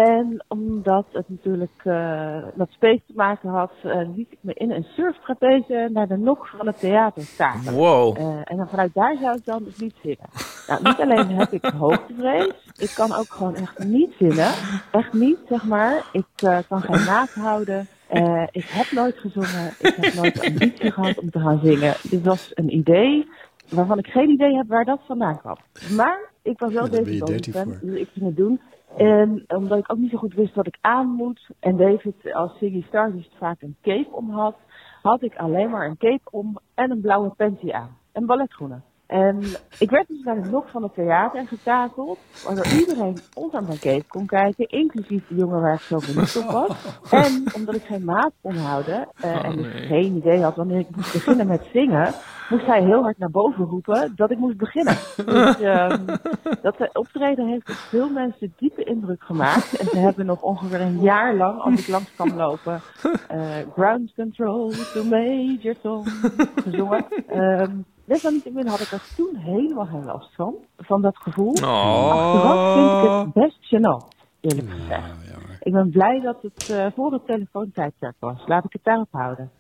Speaker 5: En omdat het natuurlijk eh met space te maken had, eh, liet ik me in een surftrapeze naar de nok van het theater staan.
Speaker 3: Wow.
Speaker 5: en dan vanuit daar zou ik dan dus niet zingen. Nou, niet alleen heb ik hoogtevrees, ik kan ook gewoon echt niet zingen. Echt niet, zeg maar. Ik eh, kan geen naast houden. Eh, ik heb nooit gezongen. Ik heb nooit de ambitie gehad om te gaan zingen. Dit was een idee waarvan ik geen idee heb waar dat vandaan kwam. Maar ik was wel
Speaker 1: Ja, daar ben
Speaker 5: deze
Speaker 1: je
Speaker 5: Bowie
Speaker 1: 13
Speaker 5: fan,
Speaker 1: voor.
Speaker 5: dus ik ging het doen. En omdat ik ook niet zo goed wist wat ik aan moest, en David als Ziggy Stardust vaak een cape om had, had ik alleen maar een cape om en een blauwe panty aan. En balletschoenen. En ik werd dus naar de nok van het theater getakeld, waardoor iedereen onder mijn cape kon kijken, inclusief de jongen waar ik zo verliefd op was. En omdat ik geen maat kon houden eh,
Speaker 6: Oh,
Speaker 5: en dus
Speaker 6: nee.
Speaker 5: geen idee had wanneer ik moest beginnen met zingen, moest hij heel hard naar boven roepen dat ik moest beginnen. Dus ehm, dat de optreden heeft op veel mensen diepe indruk gemaakt. En ze hebben nog ongeveer een jaar lang, als ik langs kan lopen, eh, Ground Control to Major Tom gezongen. Ehm, Desalniettemin had ik er toen helemaal geen last van, van dat gevoel.
Speaker 6: Oh.
Speaker 5: Achteraf vind ik
Speaker 3: Oh.
Speaker 5: het best gênant,
Speaker 6: Nou.
Speaker 5: eerlijk gezegd. ik ben blij dat het eh, voor het telefoontijdperk was. Laat ik het daarop houden.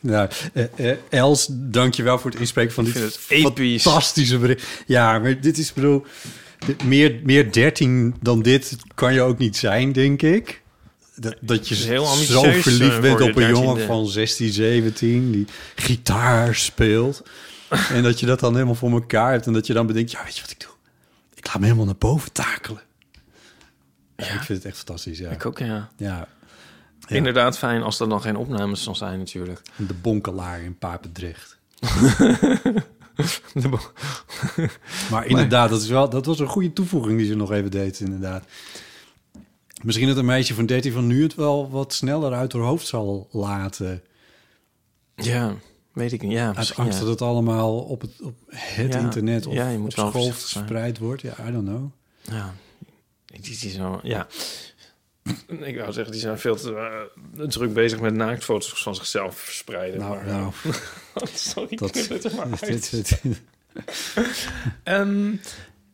Speaker 1: Nou, eh, eh, Els, dankjewel voor het inspreken van dit fantastische bericht. Ja, maar dit is, ik bedoel, dit- meer, meer 13 dan dit kan je ook niet zijn, denk ik. Dat, dat je
Speaker 3: Het is heel
Speaker 1: zo
Speaker 3: ambitieus, eh,
Speaker 1: verliefd bent
Speaker 3: voor je
Speaker 1: op een jongen
Speaker 3: 13e.
Speaker 1: van 16, 17 die gitaar speelt. en dat je dat dan helemaal voor elkaar hebt. En dat je dan bedenkt, ja, weet je wat ik doe? Ik laat me helemaal naar boven takelen. Ja, ik vind het echt fantastisch, ja.
Speaker 3: Ik ook, ja.
Speaker 1: Ja, Ja.
Speaker 3: Inderdaad fijn als er dan geen opnames zal zijn natuurlijk.
Speaker 1: de bonkelaar in Papendrecht.
Speaker 3: De bo-
Speaker 1: Maar inderdaad, dat, is wel, dat was een goede toevoeging die ze nog even deed, inderdaad. Misschien dat een meisje van 13 van nu het wel wat sneller uit haar hoofd zal laten.
Speaker 3: Ja, weet ik niet. Ja,
Speaker 1: Uit
Speaker 3: misschien,
Speaker 1: angst
Speaker 3: ja.
Speaker 1: dat het allemaal op het, op het
Speaker 3: Ja,
Speaker 1: internet of
Speaker 3: ja, je moet
Speaker 1: op
Speaker 3: wel
Speaker 1: school
Speaker 3: voorzichtig zijn.
Speaker 1: verspreid wordt. Ja, I don't know.
Speaker 3: Ja, die, die zo, ja. Ik wou zeggen, die zijn veel te eh, druk bezig met naaktfoto's van zichzelf verspreiden.
Speaker 1: Nou,
Speaker 3: maar,
Speaker 1: nou.
Speaker 3: Sorry,
Speaker 1: Dat-
Speaker 3: knip het er maar
Speaker 1: dit-
Speaker 3: uit.
Speaker 1: dit- dit-
Speaker 3: Ehm,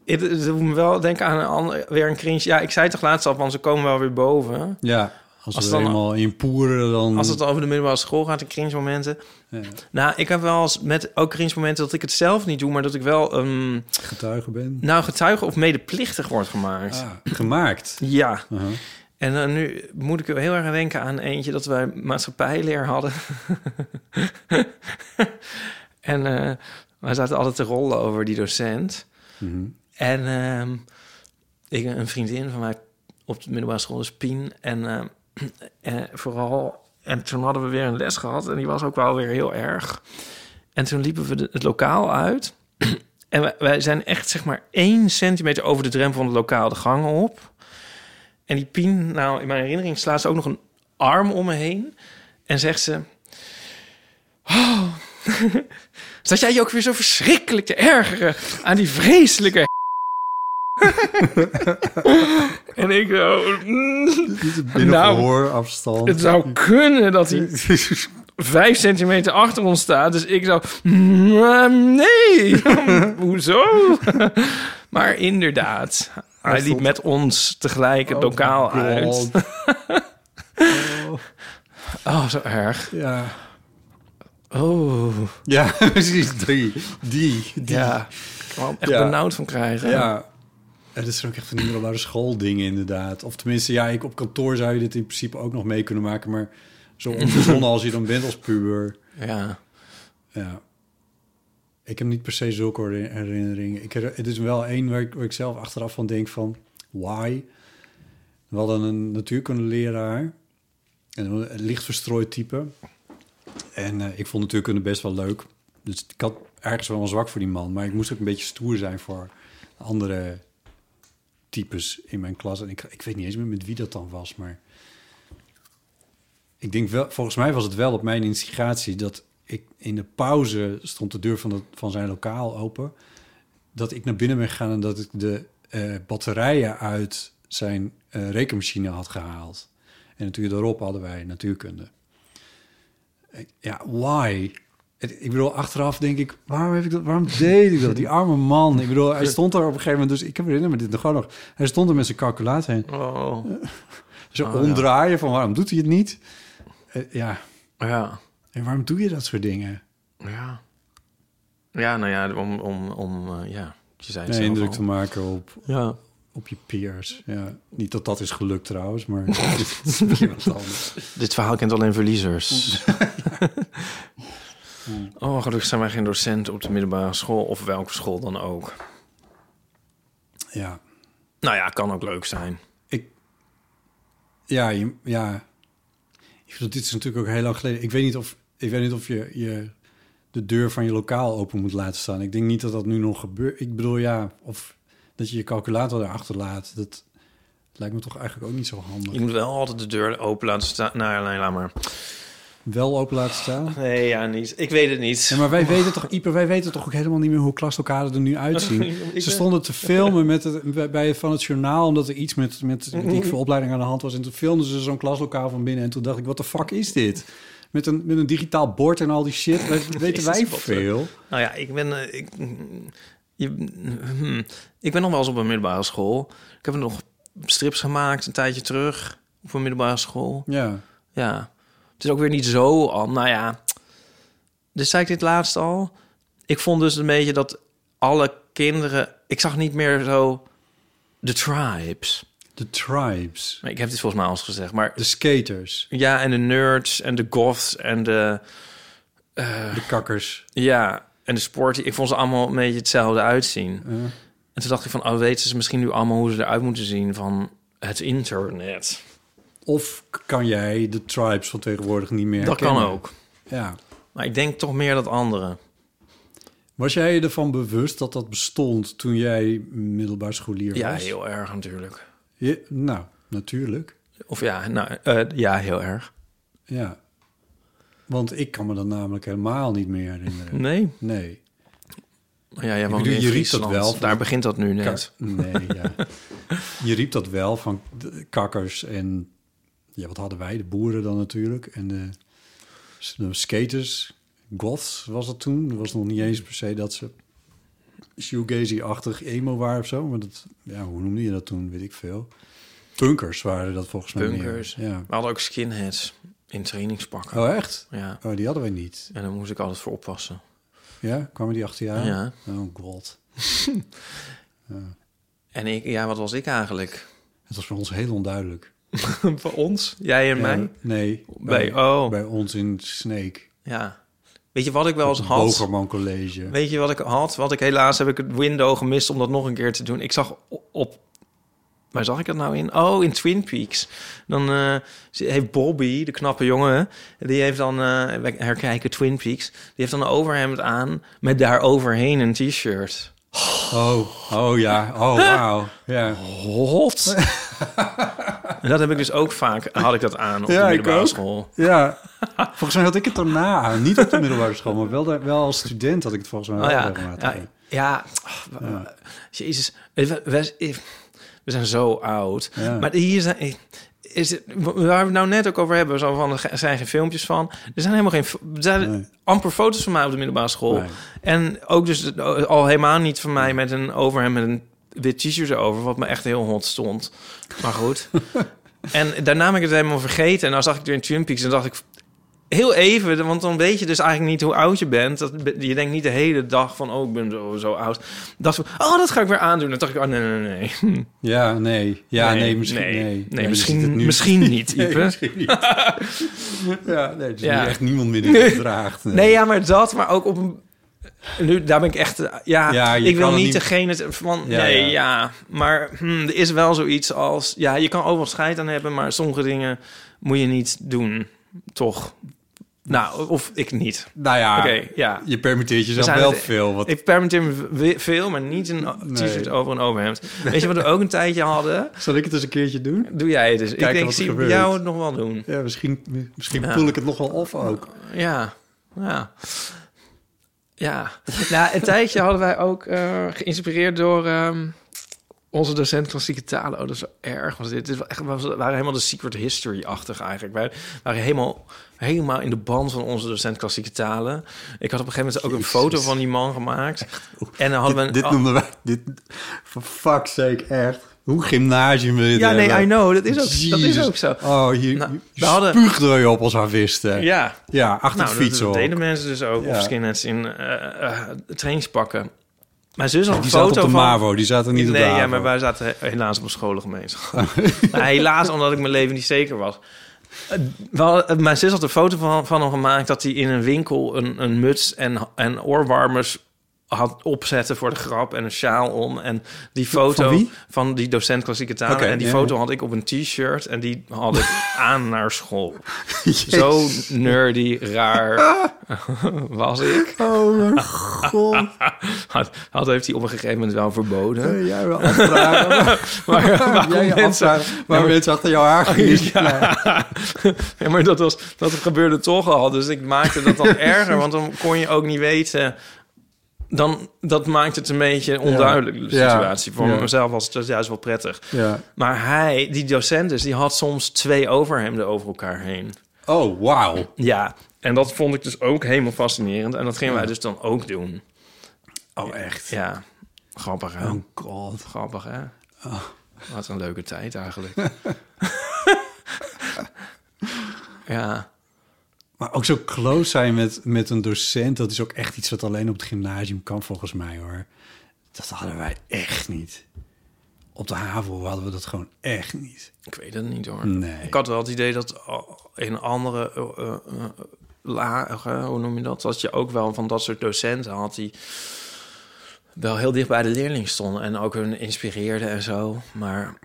Speaker 3: het, het doet me wel denken aan een ander, weer een cringe. Ja, ik zei toch laatst al, van ze komen wel weer boven.
Speaker 1: Ja, als,
Speaker 3: Als
Speaker 1: we
Speaker 3: dan-
Speaker 1: helemaal in poeren dan...
Speaker 3: Als het over de middelbare school gaat, de cringe momenten.
Speaker 1: Ja.
Speaker 3: Nou, ik heb wel eens met ook cringe momenten dat ik het zelf niet doe, maar dat ik wel ehm,
Speaker 1: getuige ben.
Speaker 3: nou getuige of medeplichtig wordt gemaakt.
Speaker 1: Ah, gemaakt.
Speaker 3: Ja.
Speaker 1: Uh-huh.
Speaker 3: En eh, nu moet ik er heel erg aan denken aan eentje dat wij maatschappijleer hadden. en eh, wij zaten altijd te rollen over die docent.
Speaker 1: Mhm.
Speaker 3: En ehm, ik, een vriendin van mij op de middelbare school, dus Pien. En eh, eh, vooral, en toen hadden we weer een les gehad en die was ook wel weer heel erg. En toen liepen we de- het lokaal uit. En wij, wij zijn echt zeg maar één centimeter over de drempel van het lokaal de gang op. En die Pien, nou in mijn herinnering slaat ze ook nog een arm om me heen. En zegt ze... Oh, zat jij je ook weer zo verschrikkelijk te ergeren aan die vreselijke... en ik zo... mm,
Speaker 1: Binnen
Speaker 3: nou,
Speaker 1: gehoorafstand.
Speaker 3: het zou kunnen dat hij vijf centimeter achter ons staat. Dus ik zou... mm, eh, Nee! Hoezo? maar inderdaad, hij liep met ons tegelijk
Speaker 1: Oh,
Speaker 3: het lokaal uit. Oh, zo erg.
Speaker 1: Ja.
Speaker 3: Oh.
Speaker 1: Ja, precies. Die. Die. die.
Speaker 3: Ja. Ik kwam echt benauwd van krijgen.
Speaker 1: Ja. Het is ook echt van die middelbare schooldingen inderdaad. Of tenminste, ja, ik, op kantoor zou je dit in principe ook nog mee kunnen maken. Maar zo onbezonnen als je dan bent als puber.
Speaker 3: Ja.
Speaker 1: Ja. Ik heb niet per se zulke herinner- herinneringen. Ik, her- het is wel één waar ik, waar ik zelf achteraf van denk van... Why? We hadden een natuurkundeleraar. Een licht verstrooid type. En eh, ik vond natuurkunde best wel leuk. Dus ik had ergens wel een zwak voor die man. Maar ik moest ook een beetje stoer zijn voor andere types in mijn klas. En ik, ik weet niet eens meer met wie dat dan was. Maar ik denk wel, volgens mij was het wel op mijn instigatie dat ik in de pauze stond de deur van, dat van zijn lokaal open. Dat ik naar binnen ben gegaan en dat ik de eh, batterijen uit zijn eh, rekenmachine had gehaald. En natuurlijk daarop hadden wij natuurkunde. Ik- Ja, why? Het- Ik bedoel, achteraf denk ik, waarom, heb ik dat, waarom deed ik dat? Die arme man. Ik bedoel, hij stond daar op een gegeven moment, dus ik herinner me dit nog gewoon nog. Hij stond er met zijn calculator heen.
Speaker 3: Oh.
Speaker 1: Zo
Speaker 3: Oh, ja.
Speaker 1: omdraaien van waarom doet hij het niet? Eh, ja.
Speaker 3: Ja.
Speaker 1: En waarom doe je dat soort dingen?
Speaker 3: Ja. Ja, nou ja, om, om, om eh, ja, je zei het
Speaker 1: Nee,
Speaker 3: zelf
Speaker 1: indruk
Speaker 3: al.
Speaker 1: te maken op,
Speaker 3: Ja.
Speaker 1: op je peers. Ja. Niet dat dat is gelukt trouwens, maar het is weer wat anders.
Speaker 3: Dit verhaal kent alleen verliezers. oh, gelukkig zijn wij geen docent op de middelbare school of welke school dan ook.
Speaker 1: Ja.
Speaker 3: Nou ja, kan ook leuk zijn.
Speaker 1: Ja, je- ja. Ik bedoel, dit is natuurlijk ook heel lang geleden. Ik weet niet of, ik weet niet of je, je de deur van je lokaal open moet laten staan. Ik denk niet dat dat nu nog gebeurt. Ik bedoel, ja, of dat je je calculator erachter laat. Dat lijkt me toch eigenlijk ook niet zo handig.
Speaker 3: Je moet wel altijd de deur open laten staan. Nou, nee, laat maar.
Speaker 1: Wel open laten staan?
Speaker 3: Nee, ja, niet. Ik weet het niet.
Speaker 1: Ja, maar wij weten toch, Ieper, wij weten toch ook helemaal niet meer hoe klaslokalen er nu uitzien.
Speaker 3: Ik-
Speaker 1: Ze stonden te filmen met het, bij- bij, van het journaal, omdat er iets met, met weet ik veel opleiding aan de hand was. En toen filmden ze zo'n klaslokaal van binnen. En toen dacht ik, wat de fuck is dit? Met een, met een digitaal bord en al die shit. Wij, weten wij
Speaker 3: Jezus, wat, eh,
Speaker 1: veel.
Speaker 3: Nou ja, ik ben... eh, ik, je, hmm. ik ben nog wel eens op een middelbare school. Ik heb nog strips gemaakt een tijdje terug op een middelbare school.
Speaker 1: Ja.
Speaker 3: Ja. Het is ook weer niet zo al. Nou ja. Dus zei ik dit laatst al. Ik vond dus een beetje dat alle kinderen... Ik zag niet meer zo de tribes.
Speaker 1: De tribes.
Speaker 3: Ik heb dit volgens mij al eens gezegd, maar...
Speaker 1: De skaters.
Speaker 3: Ja, en de nerds en de goths en de... eh,
Speaker 1: de kakkers.
Speaker 3: Ja, en de sporten. Ik vond ze allemaal een beetje hetzelfde uitzien.
Speaker 1: Ja.
Speaker 3: En toen dacht ik van, oh, weten ze misschien nu allemaal hoe ze eruit moeten zien van het internet?
Speaker 1: Of kan jij de tribes van tegenwoordig niet meer
Speaker 3: Dat kan
Speaker 1: herkennen?
Speaker 3: ook.
Speaker 1: Ja.
Speaker 3: Maar ik denk toch meer dat andere.
Speaker 1: Was jij je ervan bewust dat dat bestond toen jij middelbaar scholier
Speaker 3: Ja,
Speaker 1: was?
Speaker 3: heel erg natuurlijk.
Speaker 1: Je- nou, natuurlijk.
Speaker 3: Of ja, nou, eh, ja, heel erg.
Speaker 1: Ja. Want ik kan me dat namelijk helemaal niet meer herinneren.
Speaker 3: Nee?
Speaker 1: Nee.
Speaker 3: Maar Ja, jij
Speaker 1: Ik
Speaker 3: woont
Speaker 1: bedoel,
Speaker 3: in
Speaker 1: je riep dat
Speaker 3: Friesland.
Speaker 1: wel.
Speaker 3: Daar begint dat nu net.
Speaker 1: Kak- nee, ja. Je riep dat wel van de kakkers en... Ja, wat hadden wij? De boeren dan natuurlijk. En de, de skaters. Goths was dat toen. Dat was nog niet eens per se dat ze shoegazy-achtig emo waren of zo. Maar dat, ja, hoe noemde je dat toen? Weet ik veel. Punkers waren dat volgens mij meer.
Speaker 3: Punkers.
Speaker 1: Ja.
Speaker 3: We hadden ook skinheads in trainingspakken.
Speaker 1: Oh, echt?
Speaker 3: Ja.
Speaker 1: Oh, die hadden wij niet.
Speaker 3: En daar moest ik altijd voor oppassen.
Speaker 1: Ja? Kwamen die achter je aan?
Speaker 3: Ja.
Speaker 1: Oh, god.
Speaker 3: En ik, ja, wat was ik eigenlijk?
Speaker 1: Het was voor ons heel onduidelijk.
Speaker 3: Voor ons? Jij en
Speaker 1: Ja,
Speaker 3: mij?
Speaker 1: Nee.
Speaker 3: Bij- oh.
Speaker 1: bij ons in Snake.
Speaker 3: Ja. Weet je wat ik wel eens had?
Speaker 1: Bogerman College.
Speaker 3: Weet je wat ik had? Wat ik helaas heb ik het window gemist om dat nog een keer te doen. Ik zag op Waar zag ik dat nou in? Oh, in Twin Peaks. Dan eh, ze- heeft Bobby, de knappe jongen, die heeft dan, eh, wij herkijken Twin Peaks, die heeft dan een overhemd aan met daaroverheen een t-shirt.
Speaker 1: Oh, oh ja. Oh, wauw. Ja.
Speaker 3: Hot. en dat heb ik dus ook vaak, had ik dat aan op
Speaker 1: Ja,
Speaker 3: de
Speaker 1: ik
Speaker 3: middelbare
Speaker 1: ook.
Speaker 3: school.
Speaker 1: Ja. Volgens mij had ik het daarna aan. Niet op de middelbare school, maar wel, daar- wel als student had ik het volgens mij
Speaker 3: Oh
Speaker 1: wel
Speaker 3: ja,
Speaker 1: regelmatig.
Speaker 3: ja, ja. Ach, w- Jezus, we, we- we zijn zo oud.
Speaker 1: Ja.
Speaker 3: Maar hier zijn, is het, waar we het nou net ook over hebben, zo van, er zijn geen filmpjes van. Er zijn helemaal geen, fo- er zijn amper foto's van mij op de middelbare school.
Speaker 1: Nee.
Speaker 3: En ook dus al helemaal niet van mij met een overhemd met een wit t-shirt erover, wat me echt heel hot stond. Maar goed. en daarna ben ik het helemaal vergeten. En dan zag ik weer in Twin Peaks en dacht ik, Heel even, want dan weet je dus eigenlijk niet hoe oud je bent. Dat, je denkt niet de hele dag van, oh, ik ben zo, zo oud. Dat, soort- oh, dat ga ik weer aandoen. Dan dacht ik, oh, nee, nee, nee. Hm.
Speaker 1: Ja, nee. Ja, nee, misschien,
Speaker 3: Nee,
Speaker 1: nee.
Speaker 3: nee,
Speaker 1: Ja, je
Speaker 3: misschien-
Speaker 1: ziet het nu.
Speaker 3: misschien niet,
Speaker 1: Nee,
Speaker 3: Ipe.
Speaker 1: misschien niet. ja, nee, dus
Speaker 3: Ja.
Speaker 1: nu echt niemand meer die het draagt.
Speaker 3: Nee. ja, maar dat, maar ook op een... Nu, daar ben ik echt... eh, Ja,
Speaker 1: Ja, je
Speaker 3: ik wil
Speaker 1: kan het
Speaker 3: niet
Speaker 1: niet-
Speaker 3: degene te- van...
Speaker 1: Ja,
Speaker 3: nee,
Speaker 1: ja.
Speaker 3: ja. maar hm, er is wel zoiets als... Ja, je kan overal scheid aan hebben, maar sommige dingen moet je niet doen. Toch? Nou, of ik niet.
Speaker 1: Nou ja,
Speaker 3: Oké, ja.
Speaker 1: je permitteert
Speaker 3: We
Speaker 1: jezelf
Speaker 3: zijn
Speaker 1: wel
Speaker 3: het-
Speaker 1: veel. Wat,
Speaker 3: Ik permitteer me we- veel, maar niet een
Speaker 1: Nee.
Speaker 3: t-shirt over een overhemd. Weet je wat we ook een tijdje hadden?
Speaker 1: Zal ik het eens een keertje doen?
Speaker 3: Doe jij het eens.
Speaker 1: Kijken
Speaker 3: ik denk,
Speaker 1: wat
Speaker 3: ik
Speaker 1: er
Speaker 3: zie
Speaker 1: gebeurt.
Speaker 3: jou het nog wel doen.
Speaker 1: Ja, misschien, misschien
Speaker 3: Ja.
Speaker 1: voel ik het nog wel af ook.
Speaker 3: Ja, ja. Ja, nou, een tijdje hadden wij ook eh, geïnspireerd door ehm, onze docent klassieke talen. Oh, dat is wel erg. Was dit. dit was echt, we waren helemaal de secret history-achtig eigenlijk. Wij waren helemaal, helemaal in de band van onze docent klassieke talen. Ik had op een gegeven moment ook een foto van die man gemaakt. En dan hadden we... een-
Speaker 1: Dit, dit
Speaker 3: oh.
Speaker 1: noemden wij... Dit, for fuck's sake, echt. Hoe gymnasium wil je
Speaker 3: Ja,
Speaker 1: het
Speaker 3: nee,
Speaker 1: hebben?
Speaker 3: I know. Dat is ook- dat is
Speaker 1: Jezus.
Speaker 3: ook zo. Nou,
Speaker 1: Oh, hier
Speaker 3: we hadden-
Speaker 1: spuugde je op als we wisten.
Speaker 3: Ja.
Speaker 1: Ja, achter
Speaker 3: nou,
Speaker 1: de
Speaker 3: dat-
Speaker 1: fiets
Speaker 3: Dat,
Speaker 1: hoor.
Speaker 3: deden mensen dus ook.
Speaker 1: Ja.
Speaker 3: Of skinheads in eh, eh, trainingspakken. Mijn zus had een
Speaker 1: Die
Speaker 3: foto
Speaker 1: zaten op de
Speaker 3: van...
Speaker 1: MAVO, die zaten niet op de
Speaker 3: Nee, ja,
Speaker 1: HAVO.
Speaker 3: maar wij zaten he- helaas op een scholengemeenschap. Nou, helaas, omdat ik mijn leven niet zeker was. Eh, we hadden- eh, mijn zus had een foto van, van hem gemaakt... dat hij in een winkel een, een muts en, en oorwarmers had opzetten voor de grap en een sjaal om. En die foto
Speaker 1: van wie?
Speaker 3: van die docent klassieke talen.
Speaker 1: Oké,
Speaker 3: en die
Speaker 1: ja,
Speaker 3: foto
Speaker 1: ja.
Speaker 3: had ik op een t-shirt en die had ik aan naar school. Zo nerdy, raar was ik.
Speaker 1: Oh mijn god.
Speaker 3: Had, had heeft hij op een gegeven moment wel verboden.
Speaker 1: Nee, jij wel afvragen.
Speaker 3: maar waarom
Speaker 1: Jij je
Speaker 3: mensen,
Speaker 1: afvragen
Speaker 3: Ja,
Speaker 1: waarom
Speaker 3: maar-
Speaker 1: mensen achter jouw haar gingen zitten.
Speaker 3: ja. Ja, maar dat, was, dat gebeurde toch al. Dus ik maakte dat dan erger, want dan kon je ook niet weten. Dan, dat maakt het een beetje een onduidelijke
Speaker 1: Ja.
Speaker 3: situatie. Voor
Speaker 1: Ja.
Speaker 3: mezelf was het dus juist wel prettig.
Speaker 1: Ja.
Speaker 3: Maar hij, die docent dus, die had soms twee overhemden over elkaar heen.
Speaker 1: Oh, wauw.
Speaker 3: Ja, en dat vond ik dus ook helemaal fascinerend. En dat gingen wij dus dan ook doen.
Speaker 1: Oh, echt?
Speaker 3: Ja, grappig hè?
Speaker 1: Oh god. Oh.
Speaker 3: Grappig hè? Wat een leuke tijd eigenlijk. ja.
Speaker 1: Maar ook zo close zijn met, met een docent, dat is ook echt iets wat alleen op het gymnasium kan volgens mij hoor. Dat hadden wij echt niet. Op de HAVO hadden we dat gewoon echt niet.
Speaker 3: Ik weet het niet hoor.
Speaker 1: Nee.
Speaker 3: Ik had wel het idee dat al- in andere eh, eh, eh, lagen, hoe noem je dat? Dat je ook wel van dat soort docenten had die wel heel dicht bij de leerling stonden en ook hun inspireerden en zo. Maar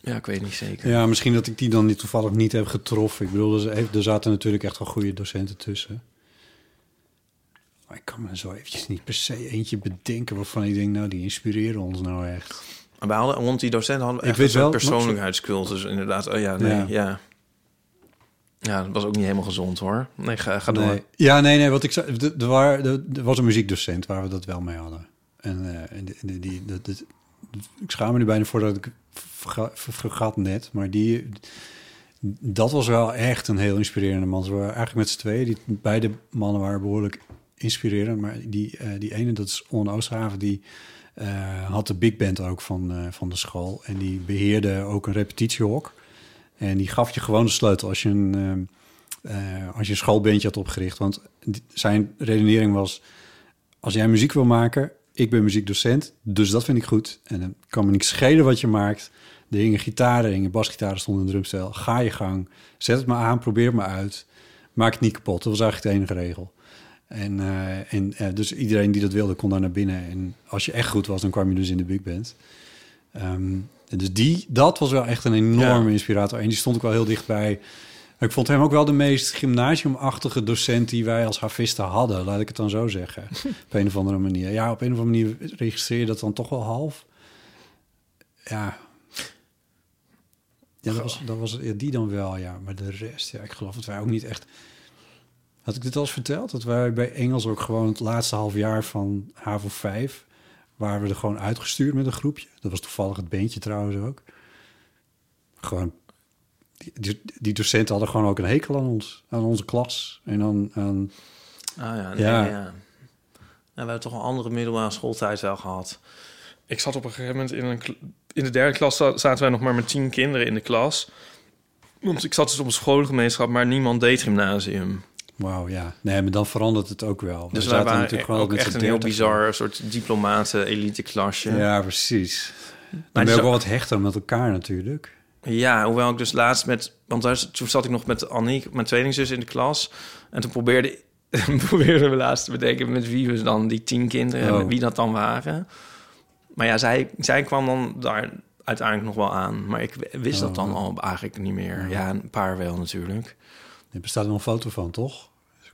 Speaker 3: ja, ik weet niet zeker.
Speaker 1: Ja, misschien dat ik die dan niet toevallig niet heb getroffen. Ik bedoel, er- er zaten natuurlijk echt wel goede docenten tussen. Maar ik kan me zo eventjes niet per se eentje bedenken waarvan ik denk, nou, die inspireren ons nou echt.
Speaker 3: Maar we hadden, rond die docenten hadden we
Speaker 1: Ik
Speaker 3: echt
Speaker 1: weet
Speaker 3: een soort
Speaker 1: wel-
Speaker 3: persoonlijkheidscult. Dus inderdaad, oh ja, nee,
Speaker 1: Ja.
Speaker 3: ja. ja. dat was ook niet helemaal gezond hoor. Nee, ga, ga door.
Speaker 1: Nee. Ja, nee, nee. Wat ik zei, d- er, waar- d- er was een muziekdocent waar we dat wel mee hadden. En, eh, en die, die, die- dat- dat- ik schaam me er bijna voor dat ik verga- ver- vergat net. Maar die, dat was wel echt een heel inspirerende man. Ze waren eigenlijk met z'n tweeën. Die, beide mannen waren behoorlijk inspirerend. Maar die, eh, die ene, dat is On Oosthaven, die eh, had de big band ook van, eh, van de school. En die beheerde ook een repetitiehok. En die gaf je gewoon de sleutel als je een, ehm, eh, eh, als je een schoolbandje had opgericht. Want die- zijn redenering was, als jij muziek wil maken, ik ben muziekdocent, dus dat vind ik goed. En het kan me niet schelen wat je maakt. Er hingen gitaren, er hingen basgitaren, stonden een drumstel. Ga je gang, zet het maar aan, probeer het maar uit. Maak het niet kapot, dat was eigenlijk de enige regel. En, eh, en eh, dus iedereen die dat wilde kon daar naar binnen. En als je echt goed was, dan kwam je dus in de big band. Ehm, dus die, dat was wel echt een enorme inspirator. En die stond ik wel heel dichtbij. Ik vond hem ook wel de meest gymnasiumachtige docent die wij als havisten hadden. Laat ik het dan zo zeggen. op een of andere manier. Ja, op een of andere manier registreer je dat dan toch wel half. Ja. Ja, dat was, dat was ja, die dan wel, ja. Maar de rest, ja, ik geloof dat wij ook niet echt... Had ik dit al eens verteld? Dat wij bij Engels ook gewoon het laatste half jaar van HAVO 5... waren we er gewoon uitgestuurd met een groepje. Dat was toevallig het beentje trouwens ook. Gewoon... Die, die, die docenten hadden gewoon ook een hekel aan ons. Aan onze klas. En dan... Aan,
Speaker 3: Ah ja, nee, ja.
Speaker 1: Ja.
Speaker 3: Nou, we hebben toch een andere middelbare schooltijd wel gehad. Ik zat op een gegeven moment in, een, kl- in de derde klas, za- zaten wij nog maar met tien kinderen in de klas. Want ik zat dus op een schoolgemeenschap, maar niemand deed gymnasium.
Speaker 1: Wauw, ja. Nee, maar dan verandert het ook wel.
Speaker 3: Dus
Speaker 1: we
Speaker 3: wij
Speaker 1: zaten
Speaker 3: waren
Speaker 1: natuurlijk gewoon
Speaker 3: ook
Speaker 1: met
Speaker 3: echt
Speaker 1: z'n
Speaker 3: een heel
Speaker 1: 30.
Speaker 3: bizar soort diplomaten-elite klasje.
Speaker 1: Ja, precies. Dan
Speaker 3: Maar
Speaker 1: ben je
Speaker 3: het
Speaker 1: ook
Speaker 3: is
Speaker 1: wel wat hechter met elkaar natuurlijk.
Speaker 3: Ja, hoewel ik dus laatst met... Want daar, toen zat ik nog met Anniek, mijn tweelingzus, in de klas. En toen probeerde, probeerden we laatst te bedenken met wie we dan die tien kinderen...
Speaker 1: Oh.
Speaker 3: wie dat dan waren. Maar ja, zij, zij kwam dan daar uiteindelijk nog wel aan. Maar ik w- wist dat
Speaker 1: Oh,
Speaker 3: dan
Speaker 1: ja.
Speaker 3: al eigenlijk niet meer. Ja, een paar wel natuurlijk.
Speaker 1: Er bestaat nog een foto van, toch?